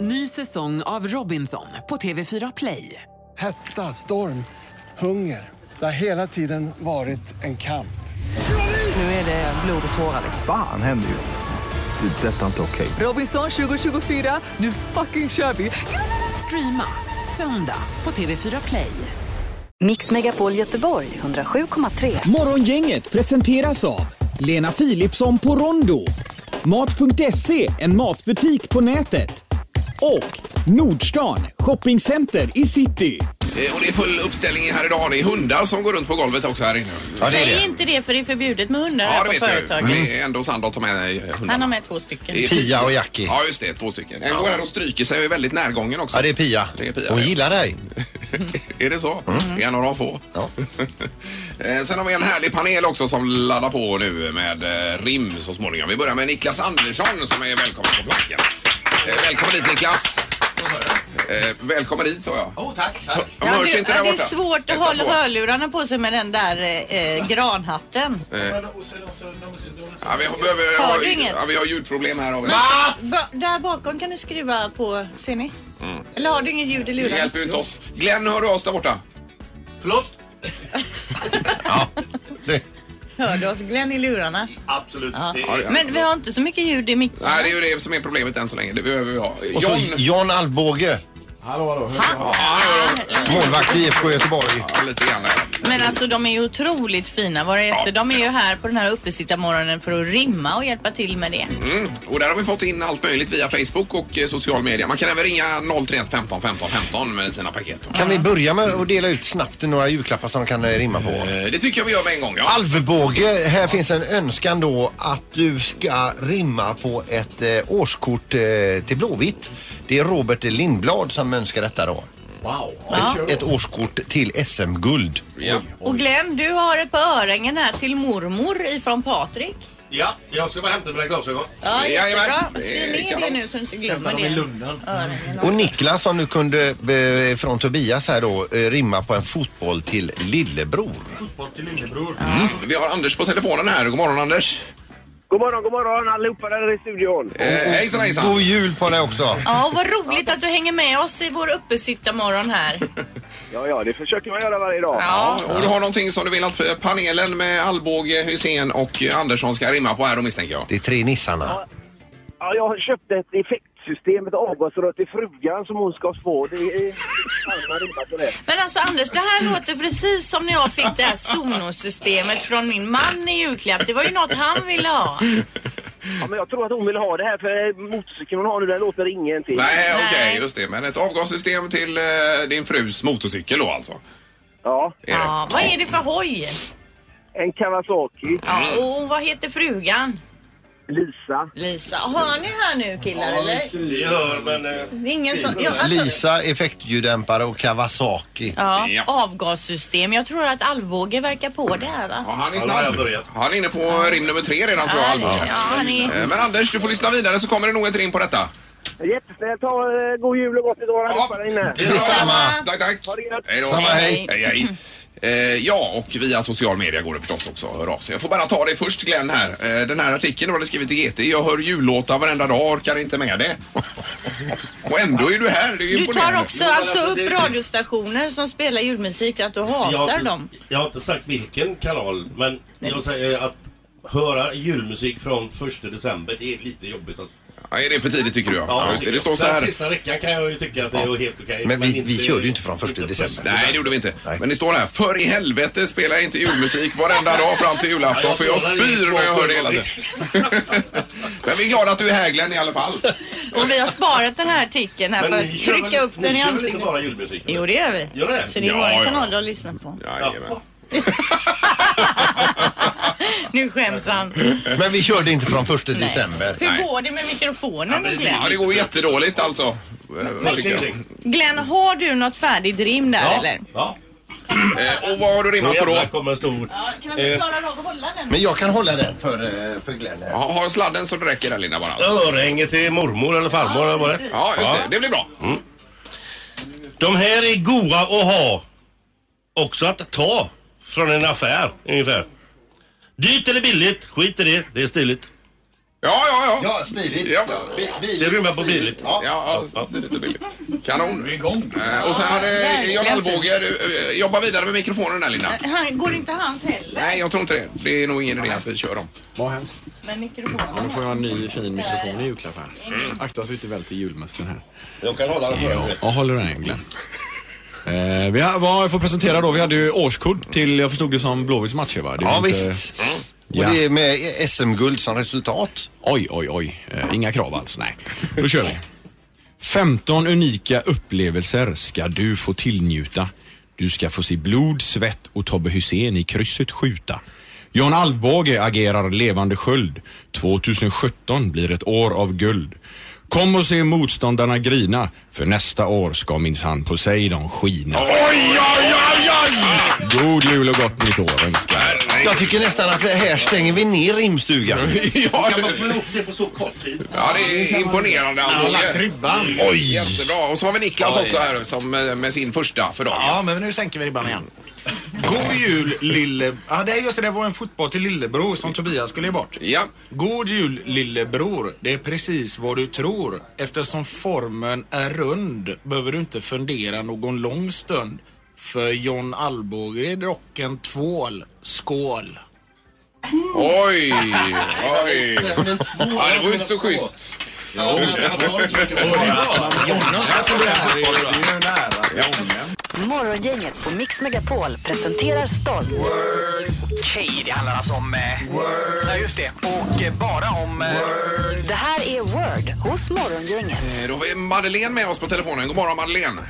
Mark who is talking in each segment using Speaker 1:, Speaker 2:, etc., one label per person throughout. Speaker 1: Ny säsong av Robinson på TV4 Play.
Speaker 2: Hetta, storm, hunger. Det har hela tiden varit en kamp.
Speaker 1: Nu är det blod och tårar. liksom.
Speaker 3: Fan händer just nu. Det. är Detta är inte okej.
Speaker 1: Robinson 2024, nu fucking kör vi! Streama söndag på TV4 Play.
Speaker 4: Mix Megapol Göteborg 107,3.
Speaker 5: Morgongänget presenteras av Lena Philipsson på Rondo, Mat.se, en matbutik på nätet och Nordstan, shoppingcenter i city.
Speaker 6: Eh, Och det är full uppställning här idag. Det är hundar som går runt på golvet också här inne. Ja,
Speaker 7: Säg inte det för det är förbjudet med hundar
Speaker 6: Ja,
Speaker 7: här
Speaker 6: det
Speaker 7: på
Speaker 6: vet jag ju.
Speaker 7: företaget.
Speaker 6: Men det är ändå Sandra att ta med eh, hundarna.
Speaker 7: Han har med två stycken.
Speaker 6: Det är
Speaker 8: Pia och Jackie.
Speaker 6: Ja, just det. Två stycken. En går här och stryker sig och är väldigt närgången också.
Speaker 8: Ja, det är Pia.
Speaker 6: Det är Pia, Mm.
Speaker 8: Hon
Speaker 6: ja.
Speaker 8: gillar dig.
Speaker 6: Är det så? Är en av de få?
Speaker 8: Ja.
Speaker 6: Eh, Sen har vi en härlig panel också som laddar på nu med eh, rim så småningom. Vi börjar med Niklas Andersson som är välkommen på plankan. Eh, Välkommen hit Niklas. Eh, Välkommen hit sa jag.
Speaker 9: Oh, tack,
Speaker 6: Hör-
Speaker 9: tack.
Speaker 6: Hörs
Speaker 7: du,
Speaker 6: inte
Speaker 7: ja,
Speaker 6: där
Speaker 7: det är
Speaker 6: borta?
Speaker 7: svårt
Speaker 6: Ett
Speaker 7: att
Speaker 6: och
Speaker 7: hålla
Speaker 6: två.
Speaker 7: hörlurarna på sig med den där eh, eh, granhatten.
Speaker 6: Eh, Ja, vi har, behöver,
Speaker 7: Hör
Speaker 6: har,
Speaker 7: du inget?
Speaker 6: ja, vi har ljudproblem här. Har vi.
Speaker 7: Va, där bakom kan ni skruva på, ser ni?
Speaker 6: Mm.
Speaker 7: Eller har du inget ljud i
Speaker 6: Det
Speaker 7: lurarna?
Speaker 6: hjälper ju inte oss. Glenn, hör du oss där borta?
Speaker 9: Förlåt?
Speaker 8: Det,
Speaker 7: Hör du oss Glenn i lurarna?
Speaker 9: Absolut. Det
Speaker 6: Ja,
Speaker 9: är-
Speaker 6: det gör
Speaker 7: Men vi har inte så mycket ljud i micken.
Speaker 6: Nej, det är ju det som är problemet än så länge. Det behöver vi ha.
Speaker 8: och så
Speaker 6: John.
Speaker 8: John Alvbåge,
Speaker 6: Ja, han hör oss.
Speaker 8: målvakt i IFK Göteborg.
Speaker 6: Ja, lite grann där.
Speaker 7: Men alltså de är ju otroligt fina våra gäster. De är ju här på den här uppesittarmorgonen för att rimma och hjälpa till med det.
Speaker 6: Mm. Och där har vi fått in allt möjligt via Facebook och eh, social media. Man kan även ringa 031 15 15 15 med sina paket.
Speaker 8: Kan vi börja med att dela ut snabbt några julklappar som de kan eh, rimma på?
Speaker 6: Eh, Det tycker jag vi gör med en gång. Ja.
Speaker 8: Alvbåge, här finns en önskan då att du ska rimma på ett eh, årskort eh, till Blåvitt. Det är Robert Lindblad som önskar detta då.
Speaker 9: Wow.
Speaker 7: Ja.
Speaker 8: Ett årskort till SM-guld.
Speaker 6: Ja.
Speaker 7: Och Glenn, du har ett par öringen här till mormor ifrån Patrik.
Speaker 9: Ja, jag ska bara hämta mina glasögon.
Speaker 7: Ja,
Speaker 6: Jajamän.
Speaker 7: jättebra. Skriv
Speaker 6: Det
Speaker 7: ner
Speaker 6: kan
Speaker 7: det
Speaker 6: de.
Speaker 7: nu så du inte glömmer
Speaker 9: Hämta dem i
Speaker 7: det.
Speaker 9: Lunden.
Speaker 7: Öringen
Speaker 8: Och
Speaker 7: också.
Speaker 8: Niklas som du kunde eh, från Tobias här då eh, rimma på en fotboll till lillebror.
Speaker 9: Fotboll till lillebror.
Speaker 6: Mm, Vi har Anders på telefonen här. God morgon Anders.
Speaker 10: God morgon, god morgon allihopa där i studion.
Speaker 6: Eh, hejsan hejsan.
Speaker 8: God jul på dig också.
Speaker 7: Ja, vad roligt att du hänger med oss i vår uppesittarmorgon här.
Speaker 10: Ja, ja, det försöker man göra varje dag.
Speaker 7: Ja.
Speaker 6: Ja, och du har någonting som du vill att eh, panelen med Alvbåge, Hussein och Andersson ska rimma på här då misstänker jag.
Speaker 8: Det är tre nissarna.
Speaker 10: Ja, jag köpte ett effektsystem, ett avgasrör till frugan som hon ska få. Det är... Fan, man rimmar på det.
Speaker 7: Men alltså Anders, det här låter precis som när jag fick det här Sonos-systemet från min man i julklapp. Det var ju något han ville ha.
Speaker 10: Ja, men jag tror att hon vill ha det här för motorcykeln hon har nu den låter ingenting.
Speaker 6: Nej, okej,
Speaker 7: Nej.
Speaker 6: just det. Men ett avgassystem till eh, din frus motorcykel då alltså?
Speaker 10: Ja,
Speaker 6: Är det?
Speaker 7: Ja, vad är det för hoj?
Speaker 10: en Kawasaki,
Speaker 7: Ja, och vad heter frugan?
Speaker 10: Lisa.
Speaker 7: Lisa. Hör ni här nu killar eller?
Speaker 9: Vi hör, men... eh,
Speaker 7: Det är ingen som... Ja, alltså...
Speaker 8: Lisa, effektljuddämpare och Kawasaki.
Speaker 7: Ja,
Speaker 6: Ja.
Speaker 7: avgassystem. Jag tror att Alvbåge verkar på det här va?
Speaker 6: Ja, han är
Speaker 9: Ja, då har jag
Speaker 6: snabb.
Speaker 9: börjat.
Speaker 6: Han är inne på rim nummer tre redan tror jag,
Speaker 7: Ja,
Speaker 6: Alvbåge.
Speaker 7: han är...
Speaker 6: Eh, Men Anders, du får lyssna vidare så kommer det nog ett rim på detta.
Speaker 10: Jättesnällt, ha eh, god jul och gott nytt år allihopa där inne.
Speaker 6: Detsamma! Tack, tack!
Speaker 10: Ha det gött.
Speaker 6: Hej då!
Speaker 8: Samma,
Speaker 7: hej.
Speaker 6: hej, hej. Eh, ja, och via social media går det förstås också att höra av sig. Jag får bara ta det först Glenn här. Eh, den här artikeln du hade skrivit i GT. Jag hör jullåtar varenda dag, orkar inte med det. och ändå är du här, det är ju
Speaker 7: Du
Speaker 6: imponerande.
Speaker 7: tar också
Speaker 9: Jo, men
Speaker 7: alltså
Speaker 9: alltså,
Speaker 7: upp
Speaker 9: det-
Speaker 7: radiostationer som spelar julmusik, att du
Speaker 9: Jag har,
Speaker 7: hatar
Speaker 9: inte,
Speaker 7: dem.
Speaker 9: jag har inte sagt vilken kanal, men jag säger att höra julmusik från första december, det är lite jobbigt alltså.
Speaker 6: Ja, är det för tidigt tycker du? Ja, just det.
Speaker 9: tycker
Speaker 6: det
Speaker 9: jag.
Speaker 6: står så
Speaker 9: Den
Speaker 6: här.
Speaker 9: sista veckan kan jag ju tycka att det är helt okej.
Speaker 8: Men vi- vi körde ju inte från första december.
Speaker 6: Nej, det gjorde vi inte.
Speaker 8: Nej.
Speaker 6: Men det står här, för i helvete spelar jag inte julmusik varenda dag fram till julafton
Speaker 9: Ja, jag
Speaker 6: för jag
Speaker 9: sågar i
Speaker 6: spyr
Speaker 9: två
Speaker 6: när jag hör det hela
Speaker 9: ögonblick.
Speaker 6: tiden. Men vi är glada att du är här Glenn i alla fall.
Speaker 7: Och vi har sparat den här artikeln här för
Speaker 9: Men ni
Speaker 7: att
Speaker 9: kör väl-
Speaker 7: trycka upp den i
Speaker 9: Ni kör väl inte
Speaker 7: ansiktet.
Speaker 9: bara julmusik?
Speaker 7: Jo, det gör vi.
Speaker 9: Gör det?
Speaker 7: Så det är
Speaker 6: Ja,
Speaker 7: våra
Speaker 6: ja.
Speaker 7: kanaler att lyssna på.
Speaker 6: Jajamän.
Speaker 7: Nu skäms han.
Speaker 8: Men vi körde inte från första
Speaker 7: Nej.
Speaker 8: december.
Speaker 6: Nej.
Speaker 7: Hur går det med mikrofonen då,
Speaker 6: Ja, det
Speaker 7: Glenn?
Speaker 6: går jättedåligt alltså. Eh, tycker jag.
Speaker 7: Glenn, har du något färdigt rim där
Speaker 9: Ja,
Speaker 7: eller?
Speaker 9: ja.
Speaker 6: Eh, Och vad har du
Speaker 9: Nu
Speaker 6: rimmat på då?
Speaker 9: jävlar kommer en stor... eh,
Speaker 7: Kan
Speaker 9: vi
Speaker 7: klara av att hålla den?
Speaker 8: Men jag kan hålla den för, eh, för Glenn här.
Speaker 6: Ha, ha sladden så det räcker där Linda bara.
Speaker 9: Örhänge till mormor eller farmor eller vad det är.
Speaker 6: Ja, just det. Det blir bra.
Speaker 9: De här är goa att ha. Också att ta. Från en affär ungefär. Dyrt eller billigt, skit i det. Det är stiligt.
Speaker 6: Ja, ja, ja.
Speaker 8: Ja, smidigt.
Speaker 6: Ja.
Speaker 8: Bi- bil-
Speaker 9: Det rymmer på billigt.
Speaker 8: Ja.
Speaker 6: Ja, ja, det är lite billigt. Kanon.
Speaker 3: Vi är igång.
Speaker 6: Eh, Och sen hade Jan Alvåge, du, eh, jobba vidare med mikrofonen där Linda.
Speaker 7: Han, går inte hans heller?
Speaker 6: Nej, jag tror inte det. Det är nog ingen idé att vi kör dem.
Speaker 3: Vad hemskt.
Speaker 7: Men mikrofonen.
Speaker 3: Nu får jag en ny fin mikrofon i julklapp här.
Speaker 8: Mm.
Speaker 3: Akta så vi inte välter julmusten här.
Speaker 9: Jag kan hålla den för
Speaker 3: Ja,
Speaker 9: dig.
Speaker 3: jag håller den här, Glenn. Eh, vi har, vad jag får presentera då, vi hade ju årskort till, jag förstod det som Blåvitts matcher va? Det är
Speaker 8: Ja,
Speaker 3: ju
Speaker 8: visst.
Speaker 3: Ja.
Speaker 8: Och det är med SM-guld som resultat.
Speaker 3: Oj, oj, oj. Eh, inga krav alls, nej. Då kör vi. 15 unika upplevelser ska du få tillnjuta. Du ska få se blod, svett och Tobbe Hysén i krysset skjuta. Jan Alvbåge agerar levande sköld. 2017 blir ett år av guld. Kom och se motståndarna grina, för nästa år ska minsann Poseidon skina.
Speaker 6: Oj, oj, oj, oj!
Speaker 3: God jul och gott nytt år önskar
Speaker 8: Jag tycker nästan att det här stänger vi ner rimstugan.
Speaker 6: Ja,
Speaker 9: Kan man få
Speaker 6: det-
Speaker 9: ihop det på så kort tid?
Speaker 6: ja, det är imponerande Alvåge.
Speaker 3: ribban.
Speaker 6: Oj, jättebra. Och så har vi Niklas också här som, eh, med sin första för dagen.
Speaker 3: Ja, men nu sänker vi ribban igen. God jul lille... Ja, det är just det. Det var en fotboll till lillebror som Tobias skulle ge bort.
Speaker 6: Ja.
Speaker 3: God jul lillebror. Det är precis vad du tror. Eftersom formen är rund behöver du inte fundera någon lång stund. För John Alvbåge och en tvål. Skål!
Speaker 6: Oj, oj. Ja, det var ju inte så schysst.
Speaker 4: Morgongänget på Mix Megapol presenterar stolt.
Speaker 1: Okej, det handlar alltså om... Ja, just det. Och eh, bara om...
Speaker 4: Det här är Word hos Morgongänget.
Speaker 6: Eh, Då har vi Madeleine med oss på telefonen. God morgon Madeleine.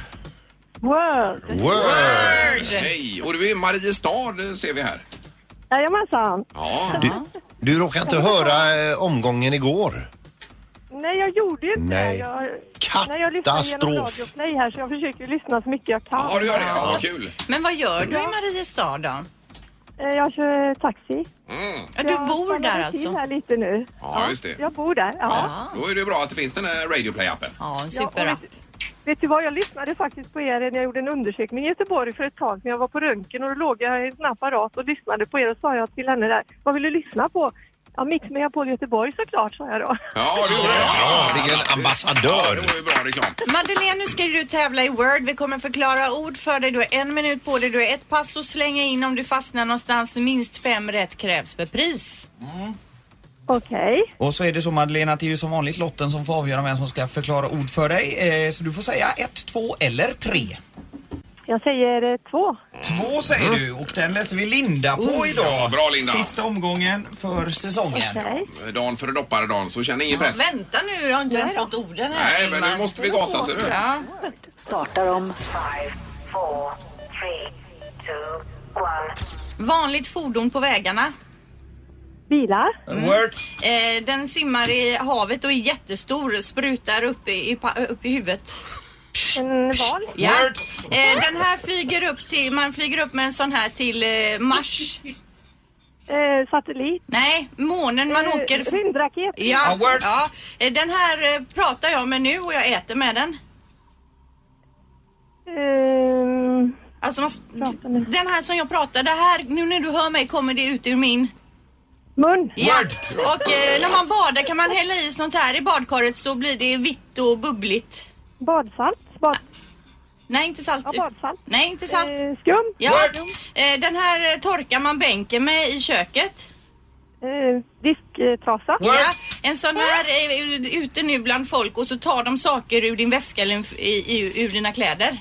Speaker 11: Word!
Speaker 8: Word.
Speaker 6: Hej, och du är i Mariestad eh, ser vi här.
Speaker 11: Jajamensan!
Speaker 6: Ja,
Speaker 8: Du råkar inte höra eh, omgången igår.
Speaker 11: Nej, jag gjorde ju inte
Speaker 8: Nej.
Speaker 11: det. Jag, nej, jag lyssnar genom
Speaker 8: Katastrof.
Speaker 11: Radio Play här så jag försöker lyssna så mycket jag kan.
Speaker 6: ja du gör det. Ja, vad kul.
Speaker 7: Men vad gör du i Mariestad då?
Speaker 11: Eh, Jag kör taxi.
Speaker 6: Mm.
Speaker 7: Ja, du
Speaker 11: jag
Speaker 7: bor
Speaker 11: stannade
Speaker 7: där
Speaker 11: till
Speaker 7: alltså?
Speaker 11: här lite nu.
Speaker 6: Ja, just det.
Speaker 11: Jag bor där, ja.
Speaker 6: Då är det bra att det finns den här Radioplay-appen.
Speaker 7: Ja, en
Speaker 11: Ja, och
Speaker 7: superapp.
Speaker 11: vet, vet du vad, jag lyssnade faktiskt på er när jag gjorde en undersökning i Göteborg för ett tag sedan. Jag var på röntgen och då låg jag i en sån apparat och lyssnade på er och sa jag till henne där, vad vill du lyssna på? Ja, Mix Megapol Göteborg såklart, sa jag då.
Speaker 6: Ja, det gjorde det. Ja,
Speaker 8: Vilken
Speaker 6: Ja, det
Speaker 8: ambassadör.
Speaker 6: var ju bra reklam.
Speaker 7: Madeleine, nu ska du tävla i Word. Vi kommer förklara ord för dig. Du har en minut på dig. Du har ett pass att slänga in om du fastnar någonstans. Minst fem rätt krävs för pris.
Speaker 11: Okej.
Speaker 1: Och så är det så Madeleine att det är ju som vanligt lotten som får avgöra vem som ska förklara ord för dig. Eh, Så du får säga ett, två eller tre.
Speaker 11: Jag säger eh, två.
Speaker 1: Två säger
Speaker 12: Mm.
Speaker 1: du och den läser vi Linda på idag.
Speaker 6: Ja, bra Linda.
Speaker 1: Sista omgången för säsongen.
Speaker 11: Okej.
Speaker 6: Dan före dopparedagen, så känner ingen press.
Speaker 7: Vänta nu, jag har inte ens fått orden här.
Speaker 6: Nej, men nu måste vi gasa ser du.
Speaker 7: Ja.
Speaker 4: Startar om
Speaker 7: Vanligt fordon på vägarna.
Speaker 11: Bilar.
Speaker 1: Word.
Speaker 7: Eh, den simmar i havet och är jättestor. Sprutar upp i, i, pa- upp i huvudet.
Speaker 11: En val.
Speaker 7: Ja. Eh, den här flyger upp till, man flyger upp med en sån här till eh, Mars.
Speaker 11: Eh, satellit.
Speaker 7: Nej, månen man
Speaker 11: Eh,
Speaker 7: åker...
Speaker 11: Rymdraket.
Speaker 7: Ja,
Speaker 1: Ja, word.
Speaker 7: ja. Eh, Den här eh, pratar jag med nu och jag äter med den.
Speaker 11: Ehm,
Speaker 7: Alltså, man, s-
Speaker 11: Prata nu.
Speaker 7: den här som jag pratar, det här, nu när du hör mig kommer det ut ur min.
Speaker 11: mun.
Speaker 7: Ja. Och eh, när man badar kan man hälla i sånt här i badkaret så blir det vitt och bubbligt.
Speaker 11: Badsalt. Bad,
Speaker 7: Nej, inte salt.
Speaker 11: ja, badsalt.
Speaker 7: Nej, inte salt.
Speaker 11: Eh, skum.
Speaker 7: Ja. Eh, Den här eh, torkar man bänken med i köket.
Speaker 11: Eh, disktrasa.
Speaker 7: Ja, en sån här är ute nu bland folk och så tar de saker ur din väska eller en- i, i, ur dina kläder.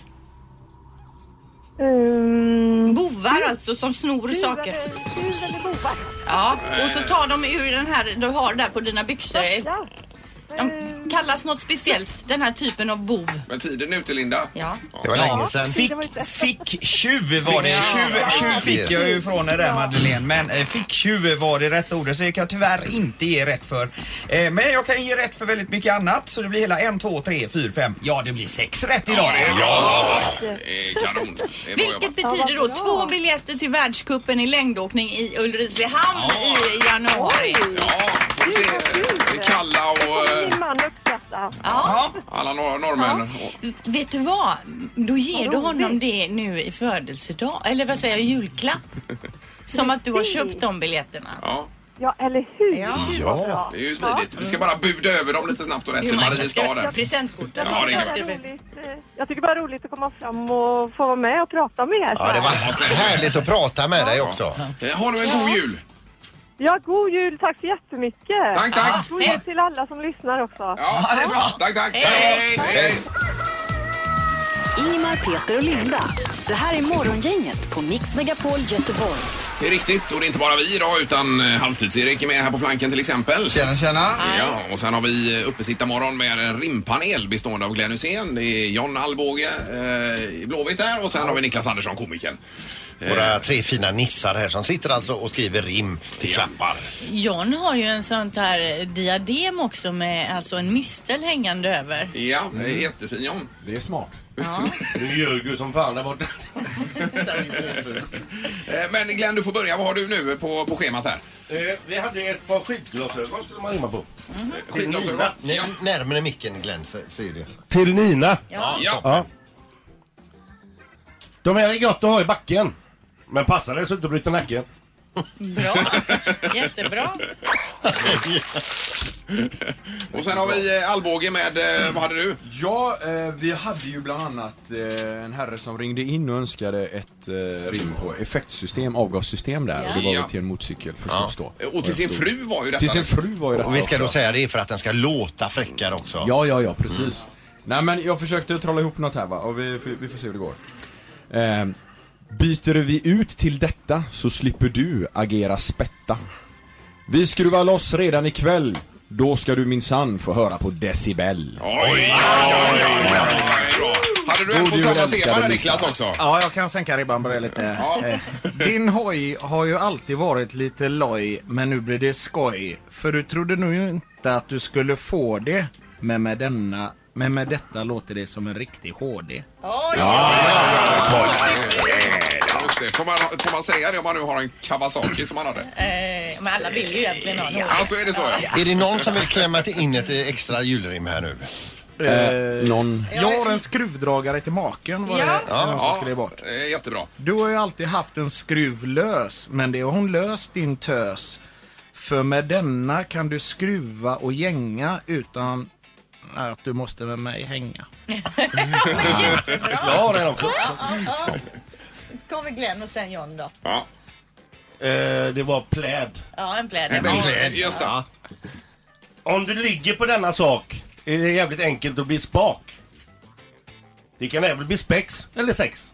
Speaker 11: Ehm,
Speaker 7: Bovar alltså som snor saker.
Speaker 11: eller- tjuv eller bovar.
Speaker 7: Ja, och så tar de ur den här du har där på dina byxor.
Speaker 11: Ja.
Speaker 7: De kallas något speciellt, den här typen av bov.
Speaker 6: Men tiden är ute Linda.
Speaker 7: Ja.
Speaker 8: Det var länge sedan.
Speaker 1: Fick, fick tjuv var det. Tjuv, tjuv fick jag ju från er där Madeleine. Men eh, fick tjuv var det rätta ordet så det kan jag tyvärr inte ge rätt för. Eh, men jag kan ge rätt för väldigt mycket annat så det blir hela en, två, tre, fyra, fem. Ja det blir sex rätt idag.
Speaker 6: Ja, det är kanon. Det är bra
Speaker 7: Vilket
Speaker 6: jobbat.
Speaker 7: betyder då två biljetter till världskuppen i längdåkning i Ulricehamn i januari.
Speaker 6: Ja, får vi se. Det är Kalla och
Speaker 11: Kommer
Speaker 6: eh,
Speaker 11: Min man uppskatta.
Speaker 7: Ja.
Speaker 6: alla nor- norrmän. Och-
Speaker 7: Vet du vad? Då ger du honom det nu i födelsedag, eller vad säger jag, julklapp. Som att du har köpt de biljetterna.
Speaker 6: Ja.
Speaker 11: Ja, eller hur? Gud, vad
Speaker 6: Ja,
Speaker 11: bra.
Speaker 6: det är ju smidigt. Vi ska bara buda över dem lite snabbt och rätt till Mariestad. där. Ja, det är klart.
Speaker 11: eh, Jag tycker bara det är roligt att komma fram och få vara med och prata med er.
Speaker 8: Ja, det var härligt att prata med dig också.
Speaker 6: Eh, Ha nu en god jul!
Speaker 11: Ja, god jul. Tack så jättemycket.
Speaker 6: Tack, tack.
Speaker 11: God jul till alla som lyssnar också.
Speaker 6: Ja, det är bra. Tack, tack.
Speaker 11: Hej.
Speaker 6: Hej.
Speaker 4: Ingmar, Peter och Linda. Det här är Morgongänget på Mix Megapol Göteborg.
Speaker 6: Det är riktigt och det är inte bara vi idag utan eh, Halvtids-Erik är med här på flanken till exempel. Tjena,
Speaker 1: tjena.
Speaker 6: Ja, och sen har vi eh, uppesittarmorgon med en rimpanel bestående av Glenn Hysén, det är John Allbåge eh, i Blåvitt där och sen har vi Niklas Andersson, komikern.
Speaker 8: Våra tre fina nissar här som sitter alltså och skriver rim till klappar.
Speaker 13: John har ju en sånt här diadem också med alltså en mistel hängande över.
Speaker 6: Ja, det är jättefin John.
Speaker 3: Det är smart.
Speaker 9: Nu ljög du som fan där borta.
Speaker 6: Eh, Men Glenn, du får börja. Vad har du nu på, på schemat här?
Speaker 9: Eh, vi hade ett par skidglasögon skulle man rimma på.
Speaker 8: Skitglasögon. Ja. Närmare micken Glenn så, så är det.
Speaker 9: Till Nina.
Speaker 8: Ja.
Speaker 9: Ja. De här är gott att ha i backen. Men passa dig så du inte bryter nacken.
Speaker 13: Bra. Jättebra.
Speaker 6: Och sen har vi eh, Allbåge med, eh, vad hade du?
Speaker 3: Ja, eh, vi hade ju bland annat eh, en herre som ringde in och önskade ett eh, rim på effektsystem, avgassystem där. Och det var
Speaker 6: Ja.
Speaker 3: väl till en motorcykel förstås då.
Speaker 6: Och till sin
Speaker 3: Jag
Speaker 6: fru var ju detta.
Speaker 3: Till sin fru var ju detta
Speaker 8: Och vi ska då
Speaker 3: också.
Speaker 8: säga det är för att den ska låta fräckare också.
Speaker 3: Ja, ja, ja, precis. Nej, men jag försökte trolla ihop något här va, och vi, får- vi får se hur det går. Ehm, byter vi ut till detta så slipper du agera spätta. Vi skruvar loss redan ikväll. Då ska du minsann få höra på decibel.
Speaker 6: Hade du en på
Speaker 3: God
Speaker 6: samma
Speaker 3: jul,
Speaker 6: tema
Speaker 3: älskade
Speaker 6: där Niklas också?
Speaker 14: Ja, jag kan sänka ribban på det lite. Eh, Din hoj har ju alltid varit lite loj, men nu blir det skoj. För du trodde nog inte att du skulle få det, men med denna men med detta låter det som en riktig HD.
Speaker 6: Ja, just det. Får man, får man säga det om man nu har en Kawasaki som man hade?
Speaker 13: Eh, men alla vill ju egentligen ha en hård.
Speaker 6: Alltså är det så? Ja.
Speaker 8: Är det någon som vill klämma till in ett eh, extra julrim här nu?
Speaker 3: Eh, någon.
Speaker 14: Jag har en skruvdragare till maken var det
Speaker 8: Ja.
Speaker 14: det var någon som
Speaker 8: Ja.
Speaker 14: skulle bort.
Speaker 6: Eh, Jättebra.
Speaker 14: Du har ju alltid haft en skruv lös, men det har hon löst din tös. För med denna kan du skruva och gänga utan att du måste med mig hänga.
Speaker 9: Jag har en också.
Speaker 13: Kommer Glenn och sen John då.
Speaker 6: Ja.
Speaker 9: Eh, det var pläd.
Speaker 13: Ja, en pläd.
Speaker 6: Just det.
Speaker 9: Om du ligger på denna sak är det jävligt enkelt att bli spak. Det kan även bli spex eller sex.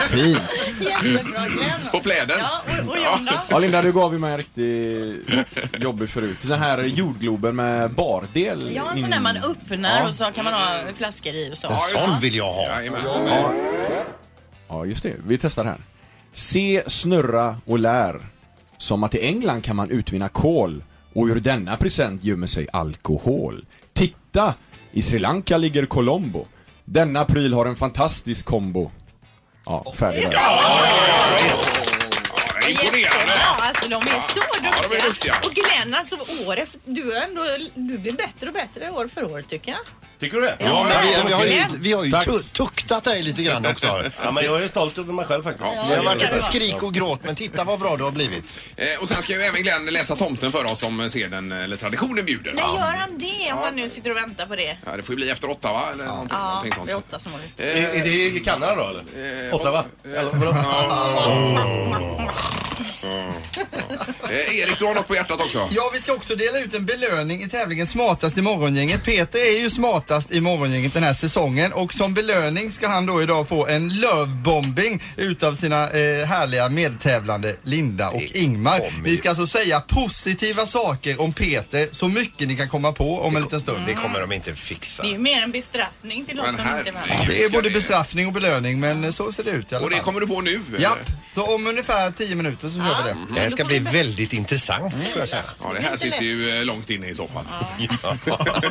Speaker 3: Fint.
Speaker 13: Jättebra Glenn.
Speaker 6: På pläden?
Speaker 13: Ja, och, och John då?
Speaker 3: Ja Linda, du gav ju mig en riktigt jobbig förut. Den här jordgloben med bardel.
Speaker 13: Jag har en sån där man öppnar och så kan man ha flaskor i och så.
Speaker 8: vill jag ha.
Speaker 3: Ja. ja, just det. Vi testar här. Se, snurra och lär. Som att i England kan man utvinna kol och ur denna present gömmer sig alkohol. Titta! I Sri Lanka ligger Colombo. Denna pryl har en fantastisk kombo. Ja, färdig där.
Speaker 6: Imponerande.
Speaker 13: Ja, alltså de är så duktiga.
Speaker 6: de är duktiga.
Speaker 13: Och Glenn, alltså år efter, du, är ändå, du blir bättre och bättre år för år tycker jag.
Speaker 9: Tycker du det?
Speaker 8: Ja, men vi, vi har ju, vi har ju
Speaker 9: Tack.
Speaker 8: tu- tuktat dig lite grann också.
Speaker 9: Ja, men jag är stolt över mig själv faktiskt.
Speaker 8: Det har varit lite skrik och gråt men titta vad bra du har blivit.
Speaker 6: Eh, Och sen ska ju även Glenn läsa tomten för oss om seden eh, eller traditionen bjuder.
Speaker 13: Nej, gör han det om han nu sitter och väntar på det?
Speaker 6: Ja, det får ju bli efter åtta va? Eller någonting,
Speaker 13: Ja,
Speaker 6: någonting sånt.
Speaker 13: vid åtta som vanligt.
Speaker 6: Eh,
Speaker 9: Är, är det i Kanada då eller? Ottawa? Eller vadå?
Speaker 6: Eh, Erik, du har något på hjärtat också?
Speaker 12: Ja, vi ska också dela ut en belöning i tävlingen Smartast i morgongänget. Peter är ju smartast i morgongänget den här säsongen och som belöning ska han då idag få en lovebombing utav sina eh, härliga medtävlande Linda och Ingmar. Vi ska alltså säga positiva saker om Peter, så mycket ni kan komma på om en liten stund.
Speaker 8: Det kommer de inte fixa.
Speaker 13: Det är ju mer en bestraffning till oss som inte är med.
Speaker 12: Det är både bestraffning och belöning men eh, så ser det ut i alla
Speaker 8: Och
Speaker 12: fall.
Speaker 8: det kommer
Speaker 6: du på nu?
Speaker 12: Ja, så om ungefär 10 minuter så kör vi det.
Speaker 8: Det här ska bli väldigt intressant får jag säga.
Speaker 6: Ja, det här sitter ju eh, långt inne i soffan.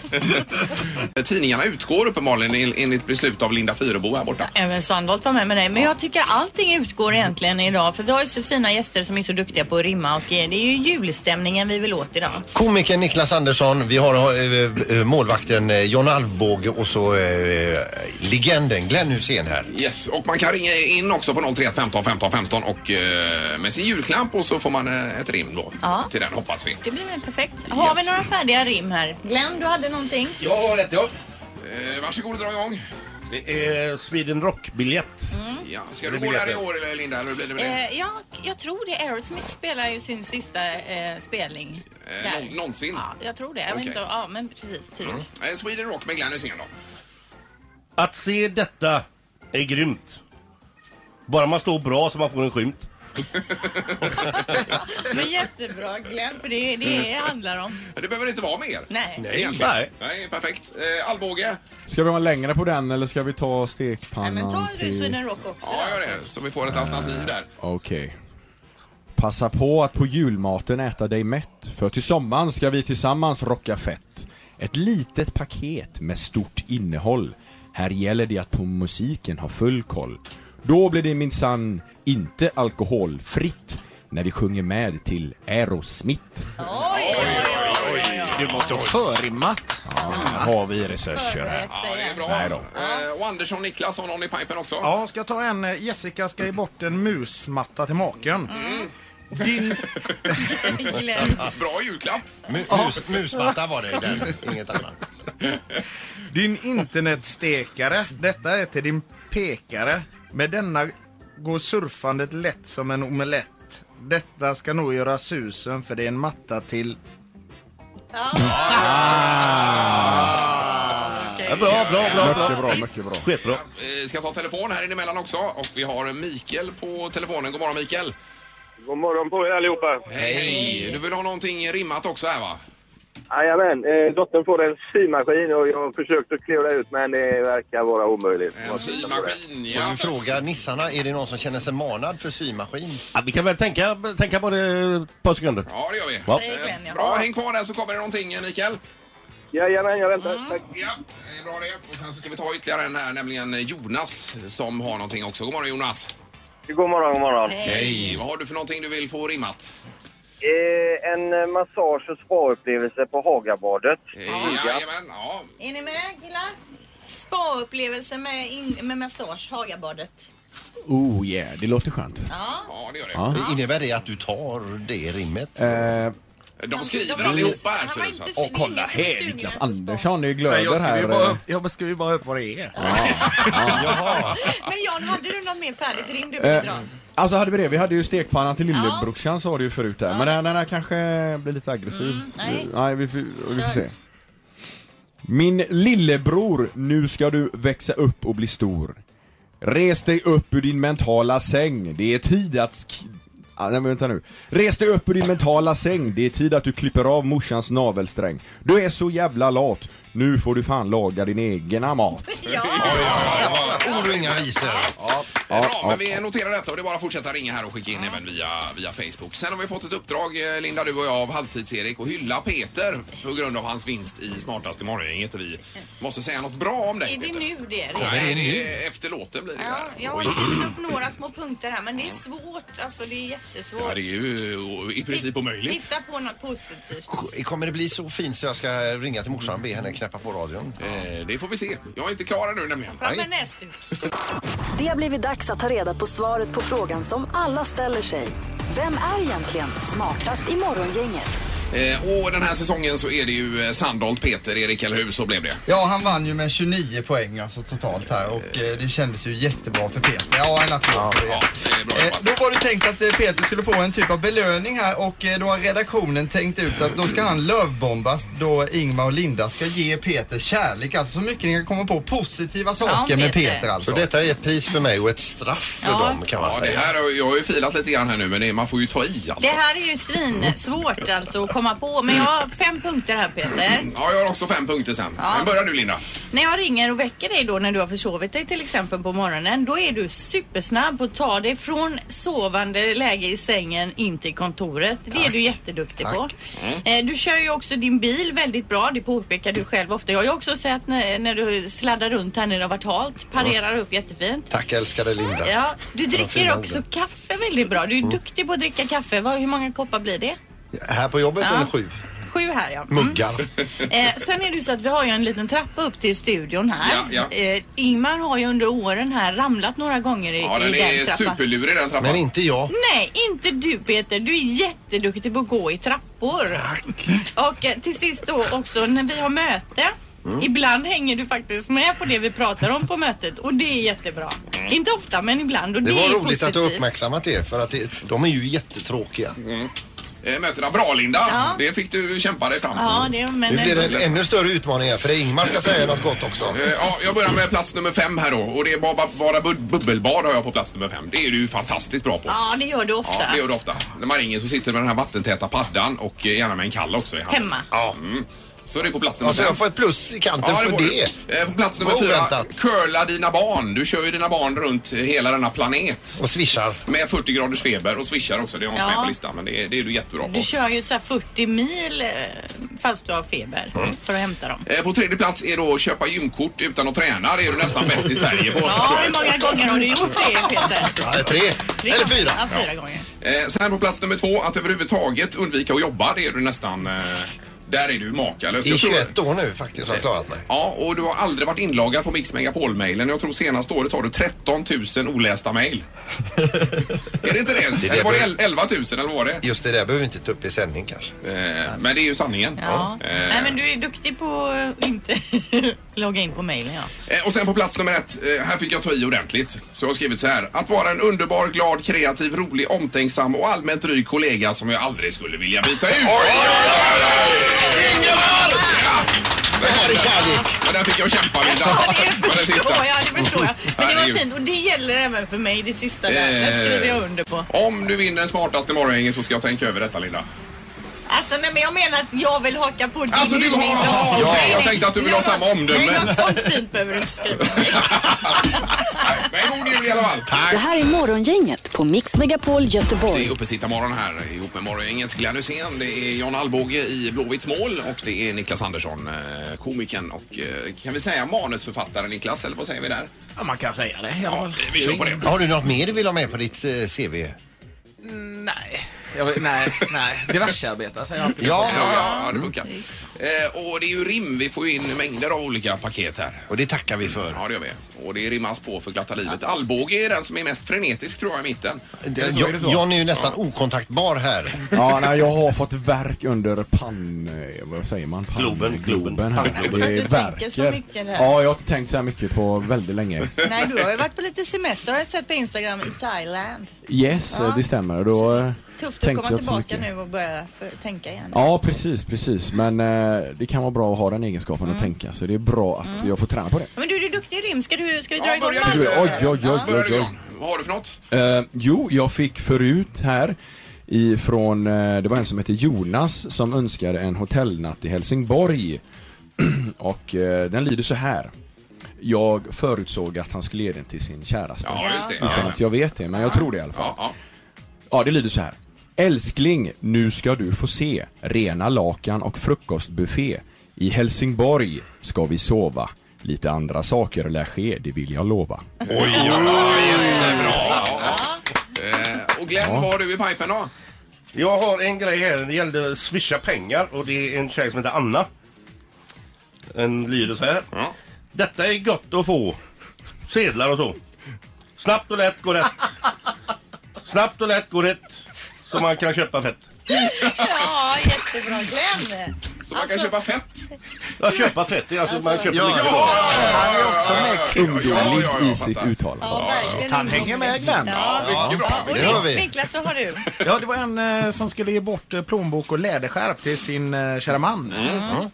Speaker 6: Tidningarna utgår uppenbarligen en- enligt beslut av Linda Fyrebo här borta.
Speaker 13: Även Sandholt var med med dig. Men jag tycker allting utgår egentligen idag. För vi har ju så fina gäster som är så duktiga på att rimma och eh, det är ju julstämningen vi vill åt idag.
Speaker 8: Komikern Niklas Andersson, vi har eh, eh, målvakten eh, John Alvbåge och så eh, legenden Glenn Hussein här.
Speaker 6: Yes, och man kan ringa in också på 031 15 15 15 och eh, med sin julklapp julklapp och så får man eh, ett rim då.
Speaker 7: Ja.
Speaker 6: Till den hoppas vi.
Speaker 7: Det blir väl perfekt. Har vi några färdiga rim här? Glenn, du hade någonting?
Speaker 9: Jag har ett ja.
Speaker 6: Eh, varsågod och dra igång.
Speaker 9: Det är Sweden Rock-biljett.
Speaker 14: Mm.
Speaker 6: Ja, ska du gå där i år eller Linda? Hur blir det med det?
Speaker 13: Eh, ja, jag tror det. Aerosmith spelar ju sin sista eh, spelning.
Speaker 6: Eh,
Speaker 13: där.
Speaker 6: någon- någonsin?
Speaker 13: Ja, jag tror det. Jag vet
Speaker 6: Okej.
Speaker 13: inte, ja, men precis. Typ.
Speaker 6: Mm. Eh, Sweden Rock med Glenn Hysén då.
Speaker 9: Att se detta är grymt. Bara man står bra så man får en skymt.
Speaker 13: Men jättebra Glenn, för det är det det handlar om.
Speaker 6: Det behöver inte vara mer.
Speaker 13: Nej.
Speaker 6: Mm. Nej. Nej. Nej, perfekt. Eh, Alvbåge.
Speaker 3: Ska vi ha en längre på den eller ska vi ta stekpannan till-
Speaker 13: Rock också
Speaker 6: Ja, gör det. Så vi får ett alternativ där.
Speaker 3: Okej. Passa på att på julmaten äta dig mätt, för till sommaren ska vi tillsammans rocka fett. Ett litet paket med stort innehåll. Här gäller det att på musiken ha full koll. Då blir det minsann inte alkoholfritt när vi sjunger med till Aerosmith.
Speaker 14: Du måste ha förrimmat.
Speaker 3: Ja, här har vi resurser här.
Speaker 6: Ja, det är bra.
Speaker 3: Nej då.
Speaker 6: Eh, och Andersson Niklas har någon i pipen också.
Speaker 14: Ja, ska jag ta en? eh, Jessica ska ge bort en musmatta till maken. Din...
Speaker 6: Bra julklapp.
Speaker 8: Mu- mus- musmatta var det där, inget annat.
Speaker 14: Din internetstekare, detta är till din pekare. Med denna går surfandet lätt som en omelett. Detta ska nog göra susen för det är en matta till...
Speaker 9: Ja, bra, bra, bra. bra.
Speaker 3: Mycket bra, mycket bra.
Speaker 9: Skitbra.
Speaker 6: Eh, ska ta telefon här inemellan också. Och vi har Mikael på telefonen. God morgon Mikael.
Speaker 10: God morgon på er allihopa.
Speaker 6: Hej! Du vill ha någonting rimmat också här va?
Speaker 10: Jajamän, eh, dottern får en symaskin och jag har försökt att klura ut men det verkar vara omöjligt.
Speaker 6: En symaskin,
Speaker 8: Får vi fråga nissarna, är det någon som känner sig manad för symaskin?
Speaker 9: Ja, vi kan väl tänka, tänka på det ett par sekunder.
Speaker 6: Ja, det gör vi.
Speaker 9: Ja.
Speaker 6: Eh, Bra, häng kvar där så kommer det någonting eh, Mikael.
Speaker 10: Jajamän, jag väntar. Tack.
Speaker 6: Ja, det är bra det. Och sen så ska vi ta ytterligare en här, nämligen Jonas som har någonting också. God morgon Jonas.
Speaker 10: God morgon, god morgon.
Speaker 6: Hej! Vad har du för någonting du vill få rimmat?
Speaker 10: Eh, en eh, massage och spaupplevelse på Hagabadet.
Speaker 6: Eh, Jajamän, ja.
Speaker 7: Är ni med killar? Spa-upplevelse med, in- med massage, Hagabadet.
Speaker 3: Oh yeah, det låter skönt.
Speaker 6: Ja, det gör det.
Speaker 3: Ja.
Speaker 8: Innebär det att du tar det rimmet?
Speaker 3: Eh,
Speaker 6: De skriver
Speaker 8: de-
Speaker 6: allihopa här
Speaker 8: han
Speaker 6: ser
Speaker 8: var
Speaker 6: det ut
Speaker 8: inte
Speaker 6: som.
Speaker 8: så-
Speaker 6: Och-
Speaker 3: kolla här Niklas Andersson är glöder
Speaker 14: Nej, jag skriver
Speaker 3: här.
Speaker 14: ju bara
Speaker 3: eh.
Speaker 14: upp, jag skriver bara upp vad det är.
Speaker 7: Men Jan, hade du något mer färdigt rim du ville
Speaker 3: Eh,
Speaker 7: dra?
Speaker 3: alltså hade vi det? Vi hade ju stekpannan till lillebrorsan sa du ju förut där. Men den, den här kanske blir lite aggressiv.
Speaker 7: Mm, nej.
Speaker 3: nej vi, får- vi får
Speaker 7: Kör.
Speaker 3: se. Min lillebror, nu ska du växa upp och bli stor. Res dig upp ur din mentala säng. Det är tid att... sk- Ah, nej men vänta nu. Res dig upp ur din mentala säng. Det är tid att du klipper av morsans navelsträng. Du är så jävla lat. Nu får du fan laga din egna mat.
Speaker 8: Ord och inga visor.
Speaker 6: Ja,
Speaker 3: Ja,
Speaker 6: bra,
Speaker 3: ja,
Speaker 6: men vi noterar detta och det är bara att fortsätta ringa här och skicka in även via, via Facebook. Sen har vi fått ett uppdrag, eh, Linda, du och jag, av Halvtids-Erik och hylla Peter på grund av hans vinst i Smartast i morgongänget. Vi måste säga något bra om dig,
Speaker 7: Är det
Speaker 6: Peter.
Speaker 7: nu det är?
Speaker 6: Nej, det är efter låten blir det
Speaker 7: Ja,
Speaker 6: här.
Speaker 7: jag har skrivit upp några små punkter här, men det är svårt. Alltså, det är
Speaker 6: Ja,
Speaker 7: jättesvårt.
Speaker 6: det är ju eh, i princip omöjligt.
Speaker 7: Titta på något positivt.
Speaker 8: Kommer det bli så fint så jag ska ringa till morsan och be henne knäppa på radion?
Speaker 6: Eh, det får vi se. Jag är inte klar ännu nämligen.
Speaker 7: Fram med näsduken.
Speaker 4: Det har blivit dags att ta reda på svaret på frågan som alla ställer sig. Vem är egentligen smartast i morgongänget?
Speaker 6: Eh, och den här säsongen så är det ju eh, Sandholt, Peter, Erik, eller hur? Så blev det.
Speaker 12: Ja, han vann ju med 29 poäng alltså totalt här och eh, det kändes ju jättebra för Peter. Ja, en applåd för det. Eh, Då var det tänkt att eh, Peter skulle få en typ av belöning här och eh, då har redaktionen tänkt ut att då ska han lövbombas då Ingmar och Linda ska ge Peter kärlek. Alltså så mycket ni kan komma på positiva saker med Peter alltså.
Speaker 8: Så detta är ett pris för mig och ett straff för
Speaker 7: Ja.
Speaker 8: dem kan man
Speaker 6: Ja, det
Speaker 8: säga.
Speaker 6: här, har- jag har ju filat lite grann här nu, men det, man får ju ta i
Speaker 7: Det
Speaker 6: alltså.
Speaker 7: här är ju svinsvårt alltså att komma på, men jag har fem punkter här Peter.
Speaker 6: Ja, jag har också fem punkter sen.
Speaker 7: Ja.
Speaker 6: Men börjar du, Linda.
Speaker 7: När jag ringer och väcker dig då när du har försovit dig till exempel på morgonen, då är du supersnabb och tar dig från sovande läge i sängen in till kontoret. Det är du jätteduktig på. Eh, Du kör ju också din bil väldigt bra, det påpekar du själv ofta. Jag har ju också sett när, när du sladdar runt här när det har varit halt, parerar upp jättefint.
Speaker 8: Tack älskade Linda.
Speaker 7: Ja, du
Speaker 8: För de
Speaker 7: dricker
Speaker 8: fina
Speaker 7: också
Speaker 8: orden.
Speaker 7: kaffe väldigt bra. Du är duktig på att dricka kaffe. Vad- Hur många koppar blir det?
Speaker 8: Här på jobbet
Speaker 7: Ja.
Speaker 8: eller sju?
Speaker 7: sju här ja. Mm.
Speaker 8: Muggar.
Speaker 7: Eh, sen är det ju så att vi har ju en liten trappa upp till studion här.
Speaker 6: Ja, ja.
Speaker 7: Eh, Ingmar har ju under åren här ramlat några gånger i,
Speaker 6: Ja,
Speaker 7: i
Speaker 6: den är
Speaker 7: trappan.
Speaker 6: superlurig den trappan.
Speaker 8: Men inte jag.
Speaker 7: Nej, inte du Peter. Du är jätteduktig på att gå i trappor. Och eh, till sist då också när vi har möte.
Speaker 8: Mm.
Speaker 7: Ibland hänger du faktiskt med på det vi pratar om på mötet och det är jättebra. Inte ofta men ibland och det,
Speaker 8: Mm. Det var
Speaker 7: är
Speaker 8: roligt
Speaker 7: positivt.
Speaker 8: att du har uppmärksammat det för att det, de är ju jättetråkiga.
Speaker 6: Eh, Mötena bra Linda,
Speaker 7: Ja.
Speaker 6: det fick du kämpa dig fram. Mm.
Speaker 7: Ja, det, men...
Speaker 8: Nu blir det en ännu större utmaning här för det är Ingmar ska säga något gott också.
Speaker 6: Eh, Ja, jag börjar med plats nummer fem här då och det är bara, bara bu- bubbelbad har jag på plats nummer fem. Det är du ju fantastiskt bra på.
Speaker 7: Ja, det gör du ofta.
Speaker 6: Ja, det gör du ofta. När man ringer så sitter du med den här vattentäta paddan och eh, gärna med en kall också i handen.
Speaker 7: Hemma.
Speaker 6: Ja. Mm. Så det är på plats nummer
Speaker 8: Alltså
Speaker 6: fem.
Speaker 8: jag får ett plus i kanten
Speaker 6: Ja, det
Speaker 8: för
Speaker 6: får
Speaker 8: det.
Speaker 6: du. Eh, På plats nummer
Speaker 8: Vad
Speaker 6: fyra,
Speaker 8: oväntat.
Speaker 6: curla dina barn. Du kör ju dina barn runt eh, hela denna planet.
Speaker 8: Och swishar.
Speaker 6: Med 40 graders feber och swishar också. Det har jag inte
Speaker 7: Ja.
Speaker 6: med på listan men det är, det är du jättebra på.
Speaker 7: Du kör ju så här 40 mil eh, fast du har feber för att hämta dem.
Speaker 6: Eh, På tredje plats är då att köpa gymkort utan att träna. Det är du nästan bäst i Sverige på.
Speaker 7: Ja, hur många gånger har du gjort det Peter?
Speaker 8: tre.
Speaker 7: Tre
Speaker 6: Eller
Speaker 7: gånger.
Speaker 6: fyra.
Speaker 7: Ja,
Speaker 6: Ja.
Speaker 7: fyra gånger.
Speaker 6: Eh, sen på plats nummer två, att överhuvudtaget undvika att jobba, det är du nästan... Eh, där är du makalös.
Speaker 8: Det är
Speaker 6: Jag tror-
Speaker 8: 21 år nu faktiskt som har klarat mig.
Speaker 6: Ja, och du har aldrig varit inlagad på Mix Megapol-mailen. Jag tror senaste året har du 13 000 olästa mejl. är det inte det?
Speaker 8: det
Speaker 6: eller var det
Speaker 8: jag-
Speaker 6: el- 11 000 eller vad var det?
Speaker 8: Just det där behöver vi inte ta upp i sändning kanske.
Speaker 6: Eh, men det är ju sanningen.
Speaker 7: Ja.
Speaker 6: Eh,
Speaker 7: Nej men du är duktig på att inte logga in på mejlen ja.
Speaker 6: Eh, Och sen på plats nummer ett, eh, här fick jag ta i ordentligt. Så jag har skrivit så här. Att vara en underbar, glad, kreativ, rolig, omtänksam och allmänt dryg kollega som jag aldrig skulle vilja byta ut. Ingemar! Ja, där kom den. Men där fick jag kämpa Linda. Det var den
Speaker 7: Förstår
Speaker 6: sista.
Speaker 7: jag, det förstår jag. Men det
Speaker 6: Herregud.
Speaker 7: var fint och det gäller även för mig det sista där. Det
Speaker 6: Eh.
Speaker 7: skriver jag under på.
Speaker 6: Om du vinner smartaste morgongänget så ska jag tänka över detta Linda.
Speaker 7: Alltså nej, men jag menar att jag vill haka på din
Speaker 6: Alltså, du har-
Speaker 7: hyllning.
Speaker 6: ja,
Speaker 7: Nej,
Speaker 6: okej, jag
Speaker 7: nej.
Speaker 6: tänkte att du ville ha
Speaker 7: Nej,
Speaker 6: samma
Speaker 7: något-
Speaker 6: omdöme.
Speaker 7: Nej, något sånt fint behöver du inte skriva.
Speaker 6: Men god jul i alla fall.
Speaker 4: Det här är Morgongänget på Mix Megapol
Speaker 6: Det är
Speaker 4: Göteborg.
Speaker 6: uppesittarmorgon här ihop med morgongänget. Glenn Hysén, det är John Alvbåge i Blåvitts mål och det är Niklas Andersson, eh, komikern och eh, kan vi säga manusförfattare Niklas, eller vad säger vi där?
Speaker 14: Ja, man kan säga det. Ja,
Speaker 6: vi kör på det.
Speaker 8: Har du något mer du vill ha med på ditt eh, CV?
Speaker 14: Nej. Jag, vet- nej, nej. Diversearbetare säger jag alltid.
Speaker 8: Ja,
Speaker 6: ja, ja, det funkar. Eh, och det är ju rim, vi får ju in mängder av olika paket här.
Speaker 8: Och det tackar vi för.
Speaker 6: Ja, det gör vi. Och det rimmas på för glatta livet. Allbåge är den som är mest frenetisk tror jag i mitten.
Speaker 8: Det, jag, John är ju nästan okontaktbar här.
Speaker 3: Ja, nej, jag har fått verk under pann... eh, Vad säger man? Pann,
Speaker 9: Globen, globen.
Speaker 3: här.
Speaker 9: Panngloben.
Speaker 3: Det
Speaker 9: Du
Speaker 3: är
Speaker 9: tänker
Speaker 3: verker.
Speaker 7: så mycket där.
Speaker 3: Ja, jag har inte tänkt så här mycket på väldigt länge.
Speaker 7: Nej, du har ju varit på lite semester har jag sett på Instagram i Thailand.
Speaker 3: Yes,
Speaker 7: Ja.
Speaker 3: eh, det stämmer. Då eh,
Speaker 7: Tufft att komma
Speaker 3: tänkte jag inte så
Speaker 7: tillbaka
Speaker 3: mycket.
Speaker 7: nu och börja för, tänka igen.
Speaker 3: Ja, precis, precis. Men eh, det kan vara bra att ha den egenskapen att
Speaker 7: Mm.
Speaker 3: tänka. Så det är bra att
Speaker 7: Mm.
Speaker 3: jag får träna på det.
Speaker 7: Men du, du är duktig i rim. Ska, du, ska vi dra igång
Speaker 6: börja
Speaker 3: Tycker
Speaker 7: Malmö?
Speaker 3: du- Oj, oj, oj, oj,
Speaker 6: Börjar du
Speaker 3: oj.
Speaker 6: John? Vad har du för något?
Speaker 3: Eh, jo, jag fick förut här ifrån, eh, det var en som hette Jonas som önskade en hotellnatt i Helsingborg. och eh, den lyder så här. Jag förutsåg att han skulle ge den till sin käraste.
Speaker 6: Ja, just det.
Speaker 3: Utan
Speaker 6: Ja.
Speaker 3: att jag vet det, men jag tror det i alla fall.
Speaker 6: Ja,
Speaker 3: Ja, det lyder så här. Älskling, nu ska du få se rena lakan och frukostbuffé. I Helsingborg ska vi sova. Lite andra saker lär ske, det vill jag lova.
Speaker 6: Oj, ja, ja, jättebra. Ja, ja. Eh, Och Glenn, vad har du i pipen då?
Speaker 9: Jag har en grej här. Det gällde swisha pengar och det är en tjej som heter Anna. Den lyder så här. Detta är gott att få. Sedlar och så. Snabbt och lätt går rätt. Snabbt och lätt går rätt. Så man kan köpa fett.
Speaker 7: Ja, jättebra Glenn!
Speaker 6: Så man kan köpa fett?
Speaker 9: Ja, köpa fett. Det är alltså, man köper
Speaker 6: Ja,
Speaker 9: mycket
Speaker 6: ja,
Speaker 9: då.
Speaker 6: ja, ja, ja. Han är också med
Speaker 3: Ungdomlig i sitt uttal.
Speaker 14: Han hänger med Glenn.
Speaker 7: Ja,
Speaker 14: Ja,
Speaker 7: mycket
Speaker 14: bra.
Speaker 7: Och
Speaker 14: Det har
Speaker 7: Nik-
Speaker 14: vi.
Speaker 7: Niklas, vad har du?
Speaker 14: Ja, det var en eh, som skulle ge bort eh, plånbok och läderskärp till sin eh, kära man.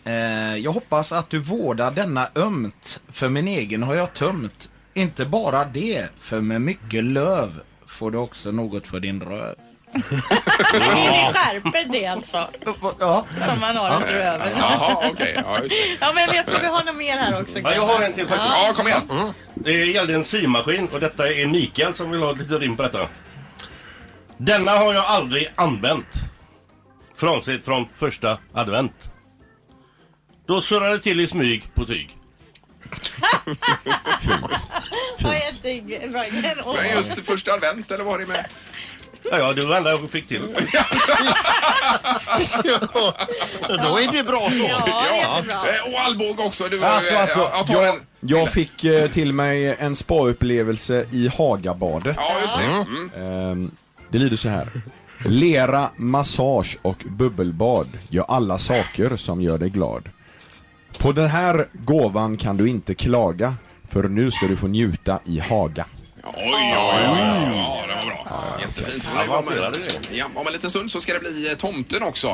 Speaker 6: Mm.
Speaker 14: Eh, jag hoppas att du vårdar denna ömt, för min egen har jag tömt. Inte bara det, för med mycket löv får du också något för din röv.
Speaker 7: Det är skärpet det alltså.
Speaker 14: Eh, Ja.
Speaker 7: Som man har under över.
Speaker 6: Jaha, okej. Ja, just det.
Speaker 7: Ja, men jag tror vi har något mer här också.
Speaker 9: Ja, jag har en till faktiskt.
Speaker 7: Ja.
Speaker 6: kom igen.
Speaker 9: Det gällde en symaskin och detta är Mikael som vill ha lite rim på detta. Denna har jag aldrig använt. Frånsett från första advent. Då surrar det till i smyg på tyg.
Speaker 7: Ja, jättebra. Den- och-
Speaker 6: Men just första advent eller vad har det med?
Speaker 9: Ja, ja, det var det enda jag fick till.
Speaker 8: Då är det bra så.
Speaker 6: Ja, Eh, Och Alborg också. Du, eh,
Speaker 3: Alltså, alltså,
Speaker 6: jag tar
Speaker 3: jag,
Speaker 6: den.
Speaker 3: jag fick eh, till mig en spaupplevelse i Hagabadet.
Speaker 6: Ja, just det.
Speaker 3: Ehm, det lyder så här. Lera, massage och bubbelbad gör alla saker som gör dig glad. På den här gåvan kan du inte klaga, för nu ska du få njuta i Haga.
Speaker 6: Oj, oj, oj, oj. Ja, det var bra. Jättefint. Hon var med. Ja, om en liten stund så ska det bli eh, Tomten också.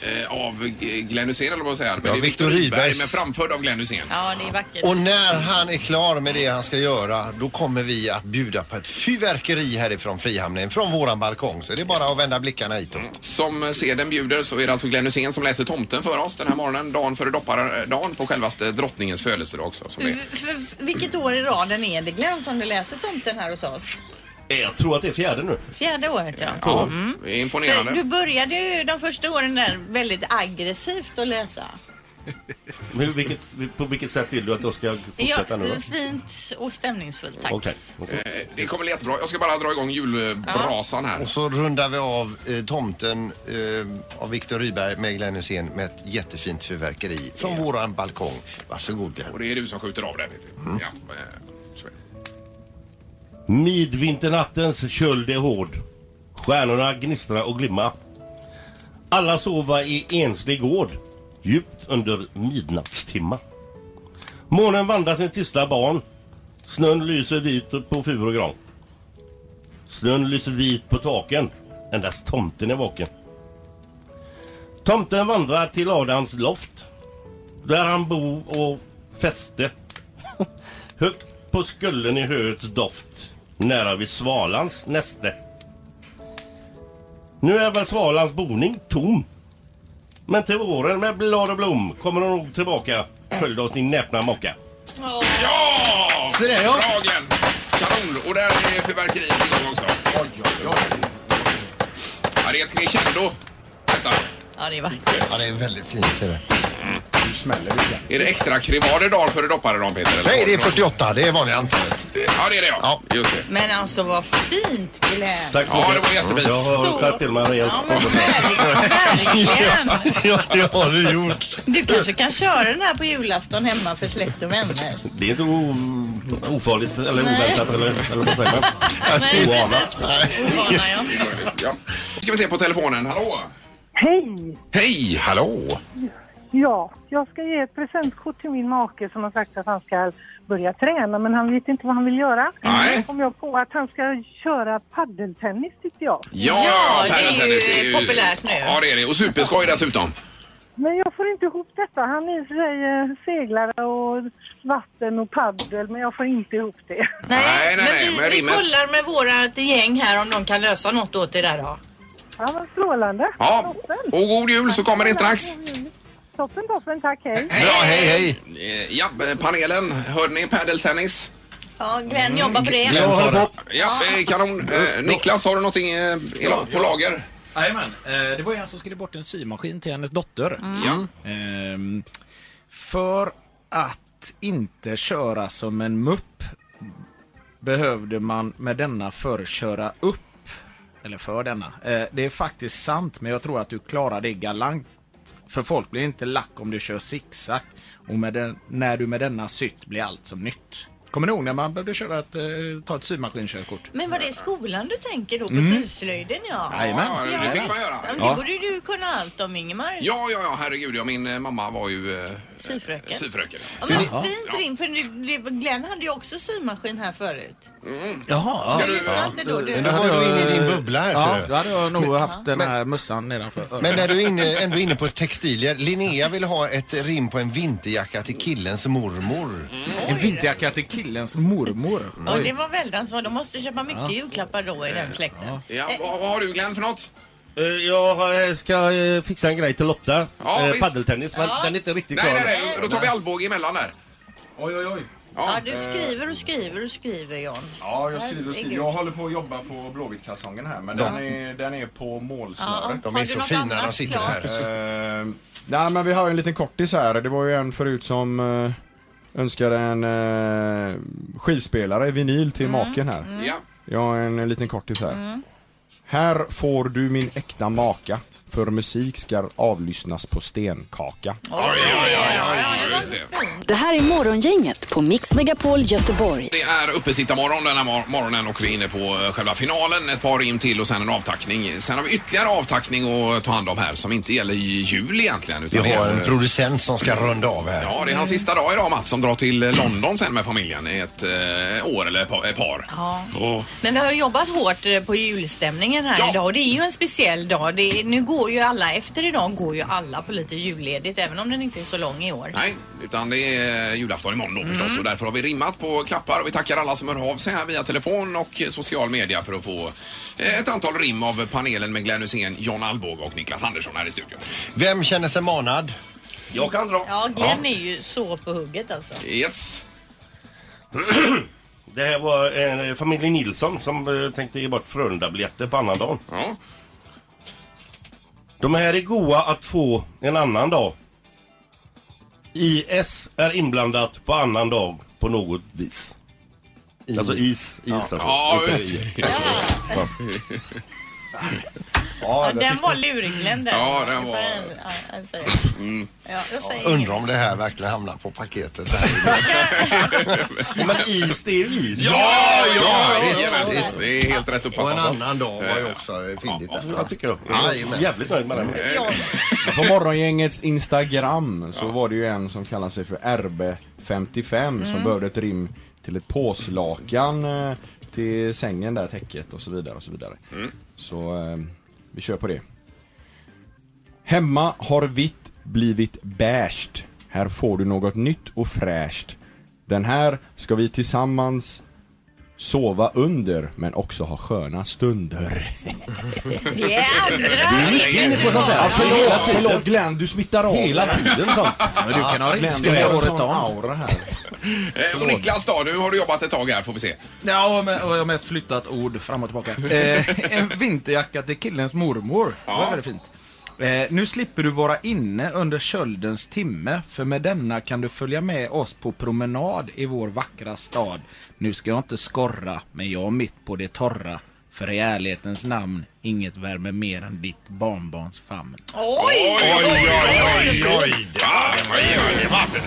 Speaker 6: Eh, av eh, Glenn Hysén, eller vad jag säger. Men
Speaker 8: Ja,
Speaker 6: det är Viktor
Speaker 8: Viktor
Speaker 6: Rydberg,
Speaker 8: Rydbergs.
Speaker 6: men framförd av Glenn Hysén.
Speaker 15: Ja, det är vackert.
Speaker 8: Och när han är klar med det han ska göra, då kommer vi att bjuda på ett fyrverkeri härifrån Frihamnen, från våran balkong. Så det är bara att vända blickarna hitåt.
Speaker 6: Som seden bjuder så är det alltså Glenn Hysén som läser Tomten för oss den här morgonen. Dagen före doppardagen på självaste drottningens födelsedag också. Som är.
Speaker 7: För vilket år i raden är det Glenn som du läser tomten här hos oss?
Speaker 9: Eh, Jag tror att det är fjärde nu.
Speaker 7: Fjärde året ja.
Speaker 6: Ja,
Speaker 7: Mm.
Speaker 6: det är
Speaker 7: För du
Speaker 6: imponerande.
Speaker 7: började ju de första åren där väldigt aggressivt att läsa.
Speaker 9: Men vilket, på vilket sätt vill du att jag ska fortsätta nu
Speaker 7: eh,
Speaker 9: då?
Speaker 7: fint och stämningsfullt tack.
Speaker 9: Okej.
Speaker 6: Eh, Det kommer bli jättebra. Jag ska bara dra igång julbrasan här.
Speaker 8: Och så rundar vi av eh, tomten eh, av Viktor Rydberg med Glenn Hysén med ett jättefint fyrverkeri från våran balkong. Varsågod Glenn.
Speaker 6: Och det är du som skjuter av det. Peter. Ja, eh, så är det.
Speaker 9: Midvinternattens köld är hård. Stjärnorna gnistra och glimma. Alla sova i enslig gård, djupt under midnattstimma. Månen vandrar sin tysta barn. Snön lyser vit upp på fur och gran. Snön lyser vit på taken. Endast tomten är vaken. Tomten vandrar till Adams loft. Där han bo och fäste. Högt på skullen i höets doft. Nära vid svalans näste. Nu är väl svalans boning tom. Men till våren med blad och blom kommer hon nog tillbaka följd av sin näpna mocka.
Speaker 6: Ja!
Speaker 9: Så där, ja.
Speaker 6: Bra Glenn! Kanon! Och där är fyrverkeriet igång också. Oj, oj, oj. Ja, det är ett crescendo. Detta.
Speaker 7: Ja, det är vackert.
Speaker 8: Ja, det är väldigt fint. Är det.
Speaker 3: Nu smäller det.
Speaker 6: Är det extra krivader dagar före dopparedagen Peter? eller?
Speaker 8: Nej, det är 48. Det är vanliga antalet.
Speaker 6: Ja, det är det ja. Just det.
Speaker 7: Men alltså vad fint Glenn.
Speaker 9: Tack så
Speaker 6: Ja,
Speaker 9: mycket.
Speaker 6: det var jättefint.
Speaker 9: Jag har
Speaker 7: Så.
Speaker 9: klart till mig rejält.
Speaker 7: Ja, men verkligen.
Speaker 8: ja, det har du gjort.
Speaker 7: Du kanske kan köra den här på julafton hemma för släkt och vänner.
Speaker 9: Det är inte o- ofarligt eller
Speaker 7: Nej.
Speaker 9: oväntat eller, eller vad säger man?
Speaker 7: Nej,
Speaker 9: Oanat.
Speaker 7: Ovana ja.
Speaker 6: Ja. ska vi se på telefonen. Hallå!
Speaker 16: Hej!
Speaker 6: Hej! Hallå!
Speaker 16: Ja, jag ska ge ett presentkort till min make som har sagt att han ska börja träna men han vet inte vad han vill göra.
Speaker 6: Nej.
Speaker 16: Då kom jag på att han ska köra paddeltennis tyckte jag.
Speaker 6: Ja,
Speaker 7: Ja, det är ju
Speaker 6: paddeltennis,
Speaker 7: populärt nu.
Speaker 6: Ja, det är det. Och superskoj dessutom.
Speaker 16: Men jag får inte ihop detta. Han är i och för sig eh, seglare och vatten och paddel men jag får inte ihop det.
Speaker 6: Nej, nej, nej,
Speaker 7: men
Speaker 6: men
Speaker 7: vi, vi
Speaker 6: rimmet.
Speaker 7: kollar med våra gäng här om de kan lösa något åt det där då.
Speaker 16: Ja, vad strålande.
Speaker 6: Ja,
Speaker 16: Toppen.
Speaker 6: och god jul så kommer det strax.
Speaker 16: Toppen, toppen. Tack, hej.
Speaker 8: Bra, hej, hej.
Speaker 6: Eh, Ja, panelen, hörde ni padeltennis?
Speaker 7: Ja, Glenn jobbar på
Speaker 9: Mm.
Speaker 7: det.
Speaker 8: Glenn tar det.
Speaker 6: Ja,
Speaker 14: Ah.
Speaker 6: eh, kanon. Eh, Niklas, har du någonting eh, i la- på lager?
Speaker 14: Jajamän, eh, det var ju han som skrev bort en symaskin till hennes dotter.
Speaker 6: Ja.
Speaker 14: Ehm, för att inte köra som en mupp behövde man med denna för köra upp. Eller för denna. Eh, det är faktiskt sant, men jag tror att du klarar det galant. För folk blir inte lack om du kör zigzag. Och med den, när du med denna sytt blir allt som nytt. Kommer ni ihåg när man behövde köra ett, eh, ta ett symaskinkörkort?
Speaker 7: Men var det i skolan du tänker
Speaker 9: Mm.
Speaker 7: då? På syslöjden ja.
Speaker 14: Jajamän.
Speaker 6: Ja, det fick man göra.
Speaker 7: Ja, men
Speaker 14: Ja.
Speaker 7: Det borde ju du kunna allt om Ingemar.
Speaker 6: Ja, ja, ja, herregud. Ja, min eh, mamma var ju eh,
Speaker 7: Syfröken.
Speaker 6: syfröken.
Speaker 7: Ja, men fint rim, för nu- det- Glenn hade ju också symaskin här förut.
Speaker 14: Jaha.
Speaker 6: Ska
Speaker 7: Du
Speaker 6: du-
Speaker 7: lyssnade inte då
Speaker 8: Då
Speaker 7: du?
Speaker 8: var du inne i din bubbla här.
Speaker 14: Ja,
Speaker 8: ser du.
Speaker 14: då hade jag nog haft den här mössan nedanför öronen.
Speaker 8: Men när du är inne, ändå inne på textilier. Linnea vill ha ett rim på en vinterjacka till killens mormor.
Speaker 14: En vinterjacka till killens mormor.
Speaker 15: Och det var väldans vad. De måste köpa mycket julklappar då i den släkten.
Speaker 6: Ja, vad, vad har du Glenn för något?
Speaker 9: Eh, Jag eh, ska eh, fixa en grej till Lotta.
Speaker 6: Ja,
Speaker 9: Eh,
Speaker 6: visst.
Speaker 9: Paddeltennis, men den är inte riktigt
Speaker 6: Nej,
Speaker 9: klar.
Speaker 6: nej, nej. Då tar vi allbåge emellan där.
Speaker 3: Oj, oj, oj.
Speaker 7: Ja, du skriver och skriver och skriver John.
Speaker 3: Ja, jag
Speaker 7: skriver och skriver. Jag
Speaker 3: håller på att jobba på Blåvittkalsongen här, men
Speaker 8: den
Speaker 3: är, den är på
Speaker 7: Ja,
Speaker 3: målsnöret.
Speaker 8: De
Speaker 7: har
Speaker 8: är
Speaker 7: du
Speaker 8: så
Speaker 7: något
Speaker 8: fina när de
Speaker 7: annat
Speaker 8: sitter
Speaker 7: klart?
Speaker 8: här.
Speaker 3: Eh, nej, men vi har ju en liten kortis här. Det var ju en förut som eh, önskade en eh, skivspelare, vinyl till maken här.
Speaker 6: Ja.
Speaker 3: Jag har en liten kortis här. Här får du min äkta maka. För musik ska avlyssnas på stenkaka.
Speaker 4: Det här är Morgongänget på Mix Megapol Göteborg.
Speaker 6: Det är uppesittarmorgon den här mor- morgonen och vi är inne på eh, själva finalen. Ett par rim till och sen en avtackning. Sen har vi ytterligare avtackning att ta hand om här som inte gäller i jul egentligen.
Speaker 8: Vi
Speaker 6: Utan
Speaker 8: har en
Speaker 6: gäller-
Speaker 8: producent som ska runda av här.
Speaker 6: Ja, det är hans sista dag idag Mats som drar till eh, London sen med familjen i ett eh, år eller pa- ett par.
Speaker 7: Ja.
Speaker 6: Och-
Speaker 7: Men vi har ju jobbat hårt eh, på julstämningen här idag och det är ju en speciell dag. Det är, nu går ju alla, efter idag går ju alla på lite julledigt även om den inte är så lång i år.
Speaker 6: Nej, utan det är julafton imorgon
Speaker 7: Mm.
Speaker 6: då förstås och därför har vi rimmat på klappar och vi tackar alla som hör av sig här via telefon och social media för att få eh, ett antal rim av panelen med Glenn Hussein, John Alvbåge och Niklas Andersson här i studion.
Speaker 8: Vem känner sig manad?
Speaker 6: Jag kan dra.
Speaker 7: Ja, Glenn är ju så på hugget alltså.
Speaker 6: Yes.
Speaker 9: Det här var eh, familjen Nilsson som eh, tänkte ge bort Frölunda-biljetter på annandagen.
Speaker 6: Ja.
Speaker 9: De här är goa att få en annan dag. IS är inblandat på annan dag på något vis. Alltså is, is
Speaker 6: Ja.
Speaker 9: alltså.
Speaker 6: Ja,
Speaker 9: Inte
Speaker 6: just
Speaker 9: i.
Speaker 6: det.
Speaker 9: Ja.
Speaker 7: Ja, den var lurig Glenn den.
Speaker 8: Ja, den var-
Speaker 7: Ja, alltså.
Speaker 6: Mm.
Speaker 7: ja, jag säger
Speaker 8: Undrar om det här verkligen hamnar på paketet.
Speaker 9: Men is, det är ju is.
Speaker 6: Ja, ja,
Speaker 8: visst,
Speaker 6: jajamän.
Speaker 8: visst.
Speaker 6: Det är helt rätt uppfattat.
Speaker 8: Och en annan dag var ju också fyndigt.
Speaker 9: Ja,
Speaker 8: där.
Speaker 9: jag tycker jag.
Speaker 8: Ja,
Speaker 9: Jag är jävligt nöjd med den.
Speaker 3: På morgongängets Instagram så var det ju en som kallar sig för RB55 som
Speaker 1: Mm.
Speaker 3: behövde ett rim till ett påslakan eh, till sängen där, täcket och så vidare och så vidare. Så eh, vi kör på det. Hemma har vitt blivit bärst. Här får du något nytt och fräscht. Den här ska vi tillsammans sova under men också ha sköna stunder.
Speaker 7: Vi är andra.
Speaker 3: Du är mycket inne på sånt där. Ja,
Speaker 6: Alltså,
Speaker 3: förlåt, förlåt Alltså, Glenn, du smittar av
Speaker 14: Hela
Speaker 3: mig.
Speaker 14: tiden sånt. Ja, men du kan ha
Speaker 3: Glenn,
Speaker 14: risken
Speaker 3: du
Speaker 14: i
Speaker 3: har en
Speaker 14: året
Speaker 3: sån
Speaker 14: om.
Speaker 3: aura här.
Speaker 6: Eh, och Niklas då, nu har du jobbat ett tag här får vi se.
Speaker 14: Ja, men, och jag har mest flyttat ord fram och tillbaka. Eh, en vinterjacka till killens mormor. Det var väldigt fint. Eh, nu slipper du vara inne under köldens timme, för med denna kan du följa med oss på promenad i vår vackra stad. Nu ska jag inte skorra, men jag är mitt på det torra. För i ärlighetens namn, inget värmer mer än ditt barnbarns famn.
Speaker 7: Oj,
Speaker 6: oj, oj, oj, oj. Ja, det var ju-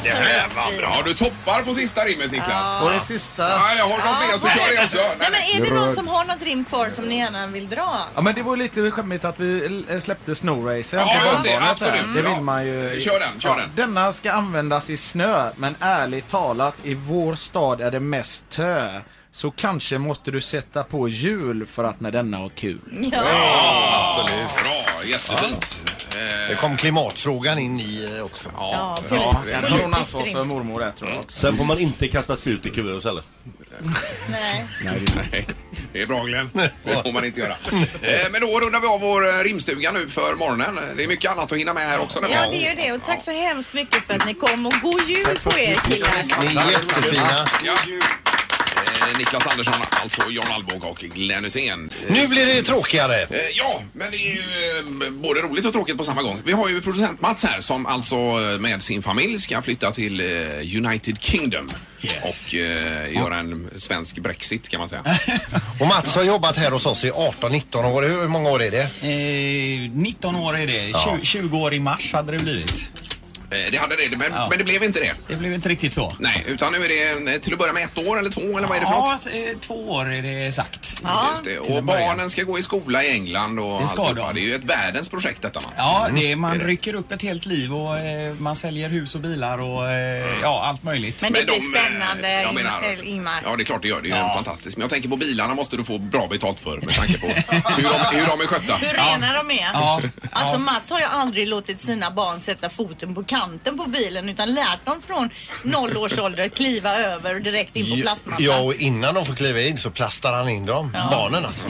Speaker 6: det här var bra. Du toppar på sista rimmet Niklas.
Speaker 14: Och det sista.
Speaker 6: Nej, jag har något mer så kör det också.
Speaker 7: Nej, men är det någon som har något rim kvar som ni gärna vill dra?
Speaker 14: Ja men det var ju lite skämmigt att vi eh, släppte Snowracer
Speaker 6: Ja,
Speaker 14: till
Speaker 6: just det,
Speaker 14: barnbarnet där.
Speaker 6: absolut.
Speaker 14: Det
Speaker 6: Ja.
Speaker 14: vill man ju...
Speaker 6: Kör den, kör den.
Speaker 14: Denna ska användas i snö, men ärligt talat, i vår stad är det mest tö. Så kanske måste du sätta på hjul för att med denna ha kul.
Speaker 6: Ja, absolut. Bra, jättefint. Eh,
Speaker 8: Det kom klimatfrågan in i eh, också.
Speaker 6: Ja,
Speaker 14: Ja, sen tar hon ansvar för mormor där tror jag också.
Speaker 9: Sen får man inte kasta spjut i kuvös heller.
Speaker 7: Nej.
Speaker 6: Nej, det är bra Glenn. Det får man inte göra. Eh, Men då rundar vi av vår eh, rimstuga nu för morgonen. Det är mycket annat att hinna med här också.
Speaker 7: Ja, det är ju det. Och tack så hemskt mycket för att ni kom och god jul på er killar.
Speaker 8: Ni är jättefina.
Speaker 6: Ja. Eh, Niklas Andersson, alltså John Alvbåge och Glenn Hussein.
Speaker 8: Nu blir det tråkigare.
Speaker 6: Eh, Ja, men det är ju eh, både roligt och tråkigt på samma gång. Vi har ju producent Mats här som alltså eh, med sin familj ska flytta till eh, United Kingdom och eh, göra en svensk Brexit kan man säga.
Speaker 8: Och Mats har jobbat här hos oss i 18-19 år. Hur många år är det?
Speaker 1: Eh, 19 år är det. 20, 20 år i mars hade det blivit.
Speaker 6: Eh, Det hade det, men, men det blev inte det.
Speaker 1: Det blev inte riktigt så.
Speaker 6: Nej, utan nu är det eh, till att börja med ett år eller två eller vad är det för
Speaker 1: ja,
Speaker 6: något?
Speaker 1: eh, två år är det sagt.
Speaker 6: Just det.
Speaker 1: Till
Speaker 6: Och
Speaker 1: en början.
Speaker 6: barnen ska gå i skola i England och
Speaker 1: Det ska
Speaker 6: alltihopa.
Speaker 1: de.
Speaker 6: Det är ju ett världens projekt detta Mats.
Speaker 1: Ja, det är, man rycker upp ett helt liv och eh, man säljer hus och bilar och
Speaker 9: Mm.
Speaker 1: eh, ja, allt möjligt.
Speaker 7: Men det blir spännande,
Speaker 6: eh, jag menar-
Speaker 7: Ingmar- Ingmar.
Speaker 6: Ja, det är klart det gör. Det är ju fantastiskt. Men jag tänker på bilarna måste du få bra betalt för med tanke på hur de, hur de är skötta.
Speaker 7: Hur rena de är.
Speaker 6: Ja.
Speaker 7: Alltså
Speaker 6: Ja.
Speaker 7: Mats har ju aldrig låtit sina barn sätta foten på kanten på bilen utan lärt dem från noll års ålder att kliva över och direkt in på plastmattan.
Speaker 8: Ja, och innan de får kliva in så plastar han in dem.
Speaker 7: Ja.
Speaker 8: Barnen alltså.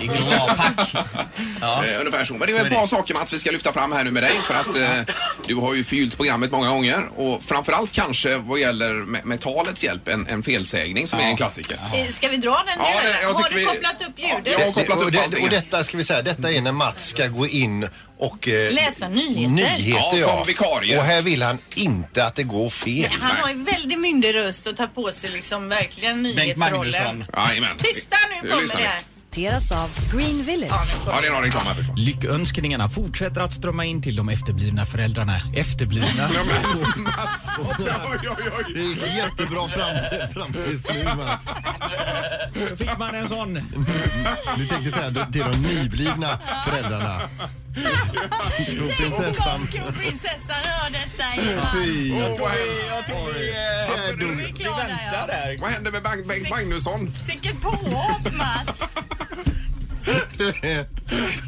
Speaker 6: Eh, ungefär så. Men det är ju ett par saker Mats vi ska lyfta fram här nu med dig för att eh, du har ju fyllt programmet många gånger och framförallt kanske vad gäller med, med talets hjälp en, en felsägning som är en klassiker.
Speaker 7: Eh, Ska vi dra den nu
Speaker 6: Ja, det-
Speaker 7: eller?
Speaker 6: jag
Speaker 7: Har
Speaker 6: tycker
Speaker 7: du
Speaker 6: vi-
Speaker 7: kopplat upp ljudet?
Speaker 6: jag har kopplat upp
Speaker 8: och, det,
Speaker 6: allting.
Speaker 8: och detta ska vi säga, detta är när Mats ska gå in och eh,
Speaker 7: Läsa nyheter.
Speaker 8: nyheter
Speaker 6: Ja, som vikarie.
Speaker 8: Och här vill han inte att det går fel.
Speaker 7: Han har ju väldigt myndig röst och tar på sig liksom verkligen nyhetsrollen.
Speaker 6: Jajamän.
Speaker 7: Tysta nu
Speaker 6: Nu
Speaker 7: kommer
Speaker 6: lyssnar
Speaker 7: det
Speaker 6: vi.
Speaker 7: här.
Speaker 4: presenteras av Green Village.
Speaker 6: Ja, det är någon reklam här förstås.
Speaker 17: Lyckönskningarna fortsätter att strömma in till de efterblivna föräldrarna. Efterblivna.
Speaker 6: Ja, men, Mats, oj, oj, oj.
Speaker 8: Det gick jättebra fram, fram tills nu Mats.
Speaker 17: Fick man en sån?
Speaker 8: Du tänkte säga till de nyblivna föräldrarna. Och prinsessan.
Speaker 7: Och prinsessan hör detta Ingmar.
Speaker 8: Fy.
Speaker 6: Åh, vad hemskt.
Speaker 1: Jag tror vi,
Speaker 6: Varför
Speaker 1: eh,
Speaker 6: du-
Speaker 1: vi väntar där.
Speaker 6: Vad hände med Bang- Bengt Magnusson?
Speaker 7: Vilket påhopp Mats.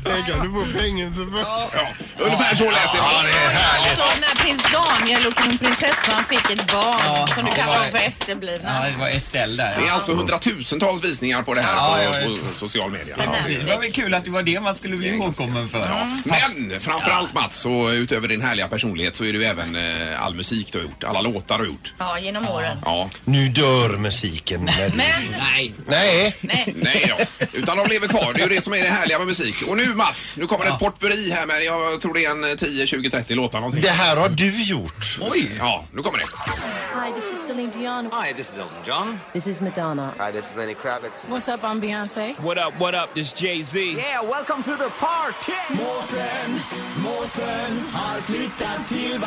Speaker 8: Det kan du få fängelse för.
Speaker 6: Ja, ungefär så lät det. Ja, det är härligt.
Speaker 7: Alltså,
Speaker 13: Så när prins Daniel och kronprinsessan fick ett barn
Speaker 1: Ja,
Speaker 13: som du
Speaker 1: det
Speaker 13: kallar
Speaker 1: var-
Speaker 13: dem för efterblivna.
Speaker 1: Ja, det var Estelle där.
Speaker 6: Det är alltså hundratusentals visningar på det här
Speaker 1: Ja,
Speaker 6: på,
Speaker 1: ja,
Speaker 6: på social media.
Speaker 1: Det var väl kul att det var det man skulle bli ihågkommen för.
Speaker 6: Men framförallt Mats, och utöver din härliga personlighet så är du även eh, all musik du har gjort, alla låtar du har gjort.
Speaker 13: Ja, genom åren.
Speaker 6: Ja,
Speaker 8: Nu dör musiken. när du-
Speaker 13: Men
Speaker 1: Nej.
Speaker 8: Nej.
Speaker 6: nej då. Utan de lever kvar, det är ju det som är det härliga med musik. Och nu Mats, nu kommer det ett portburi här med, jag tror det är en eh, 10, 20, 30 låtar någonting.
Speaker 8: Det här har du gjort.
Speaker 1: Oj!
Speaker 6: Ja, nu kommer det.
Speaker 16: Hi, this is Celine Dion.
Speaker 17: Hi, this is Elton John.
Speaker 16: This is Madonna.
Speaker 18: Hi, this is Lenny Kravitz.
Speaker 16: What's up, I'm Beyonce.
Speaker 17: What up, what up? This Jay-Z.
Speaker 5: Yeah, welcome to the party! Måsen, måsen har flyttat till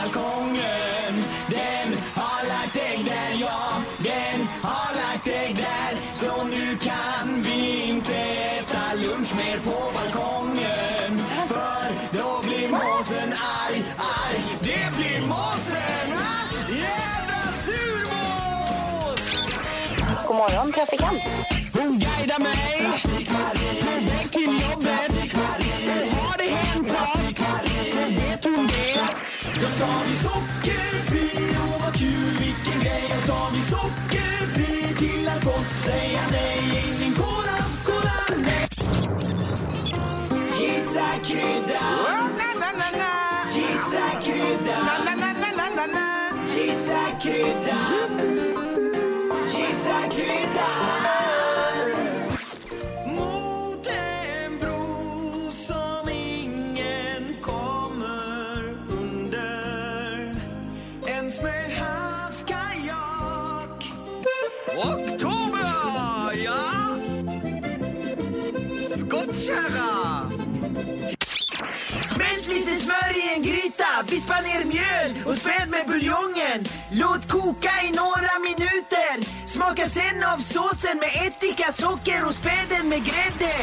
Speaker 5: balkongen. Den har lagt ägg där, ja, den har lagt ägg där. Så nu kan vi inte äta lunch mer på balkongen. För då blir måsen arg, arg. Det blir måsen! Jädra surmås!
Speaker 4: God morgon, trafikant.
Speaker 5: Hon guidar mig på väg till jobbet. Har det hänt nåt? Vet hon det? Jag ska bli sockerfri, och vad kul, vilken grej. Jag ska bli sockerfri till allt gott. Säga nej, ingen cola, cola, nej. Gissa krydda. Gissa krydda. Gissa krydda. Gissa krydda. Mot en bro som ingen kommer under Ens med havskajak Oktober, ja! Skottkärra! Smält lite smör i en gryta, vispa ner mjöl och späd med buljongen. Låt koka i några minuter. Smaka sen av såsen med ättika, socker och späden med grädde.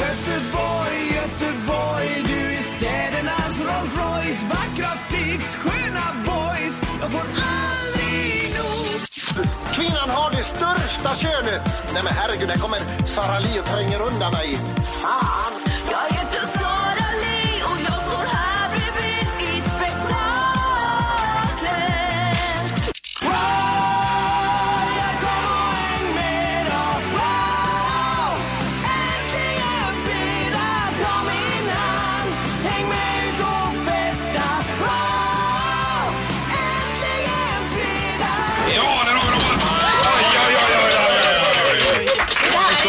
Speaker 5: Göteborg, Göteborg, du är städernas Rolls Royce. Vackra flicks, sköna boys. Jag får aldrig nog.
Speaker 8: Kvinnan har det största könet. Nej men herregud, där kommer Sara Li och tränger undan mig. Fan!
Speaker 5: Jag heter Sara Lee och jag står här bredvid i spektaklet. Wow, jag kommer en med och wow! Äntligen fredag, ta min hand, häng med ut och festa. Wow, äntligen fredag.
Speaker 6: Ja, där har vi dem Mats! Oj, oj, oj, oj, oj, oj, oj, oj.
Speaker 13: det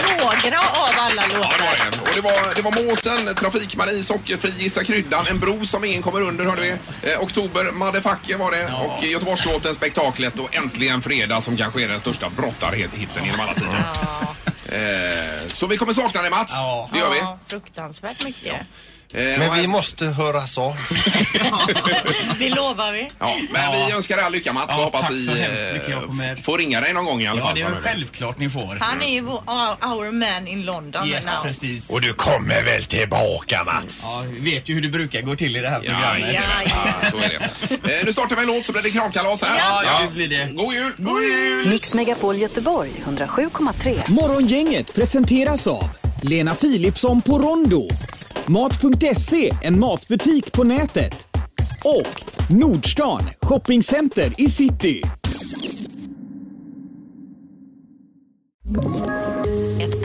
Speaker 13: här är bara några av alla
Speaker 6: Ja, det var
Speaker 13: låtar.
Speaker 6: det. Och det var, det var Måsen, Trafik-Marie, Sockerfri, Gissa kryddan, En bro som ingen kommer under hörde vi. Eh, oktober, Motherfucker var det. Och eh, Göteborgslåten, Spektaklet och Äntligen fredag som kanske är den största brottarhitten genom alla tider. Eh, så vi kommer sakna dig Mats. Det gör vi.
Speaker 13: Ja, fruktansvärt mycket.
Speaker 6: Eh, och
Speaker 8: Men
Speaker 6: här-
Speaker 8: vi måste höras av.
Speaker 13: Det lovar vi.
Speaker 6: Ja, men vi önskar dig all lycka Mats och
Speaker 17: Ja,
Speaker 6: hoppas
Speaker 17: tack
Speaker 6: vi eh,
Speaker 17: så hemskt mycket. Jag kommer-
Speaker 6: får ringa dig någon gång i alla
Speaker 17: Ja,
Speaker 6: fall.
Speaker 17: det är väl
Speaker 6: framöver.
Speaker 17: självklart ni får.
Speaker 13: Han är ju vår, our man in London
Speaker 17: Yes,
Speaker 13: now.
Speaker 17: precis.
Speaker 8: Och du kommer väl tillbaka Mats?
Speaker 17: Ja, vi vet ju hur det brukar gå till i det här programmet.
Speaker 13: Ja, ja.
Speaker 6: Så är det. Eh, nu startar vi en låt så blir det kramkalas här.
Speaker 13: Ja.
Speaker 1: det blir det.
Speaker 6: God jul!
Speaker 1: God jul!
Speaker 4: Mix Megapol Göteborg 107,3.
Speaker 5: Morgongänget presenteras av Lena Philipsson på Rondo, Mat.se, en matbutik på nätet och Nordstan, shoppingcenter i city.
Speaker 16: Ett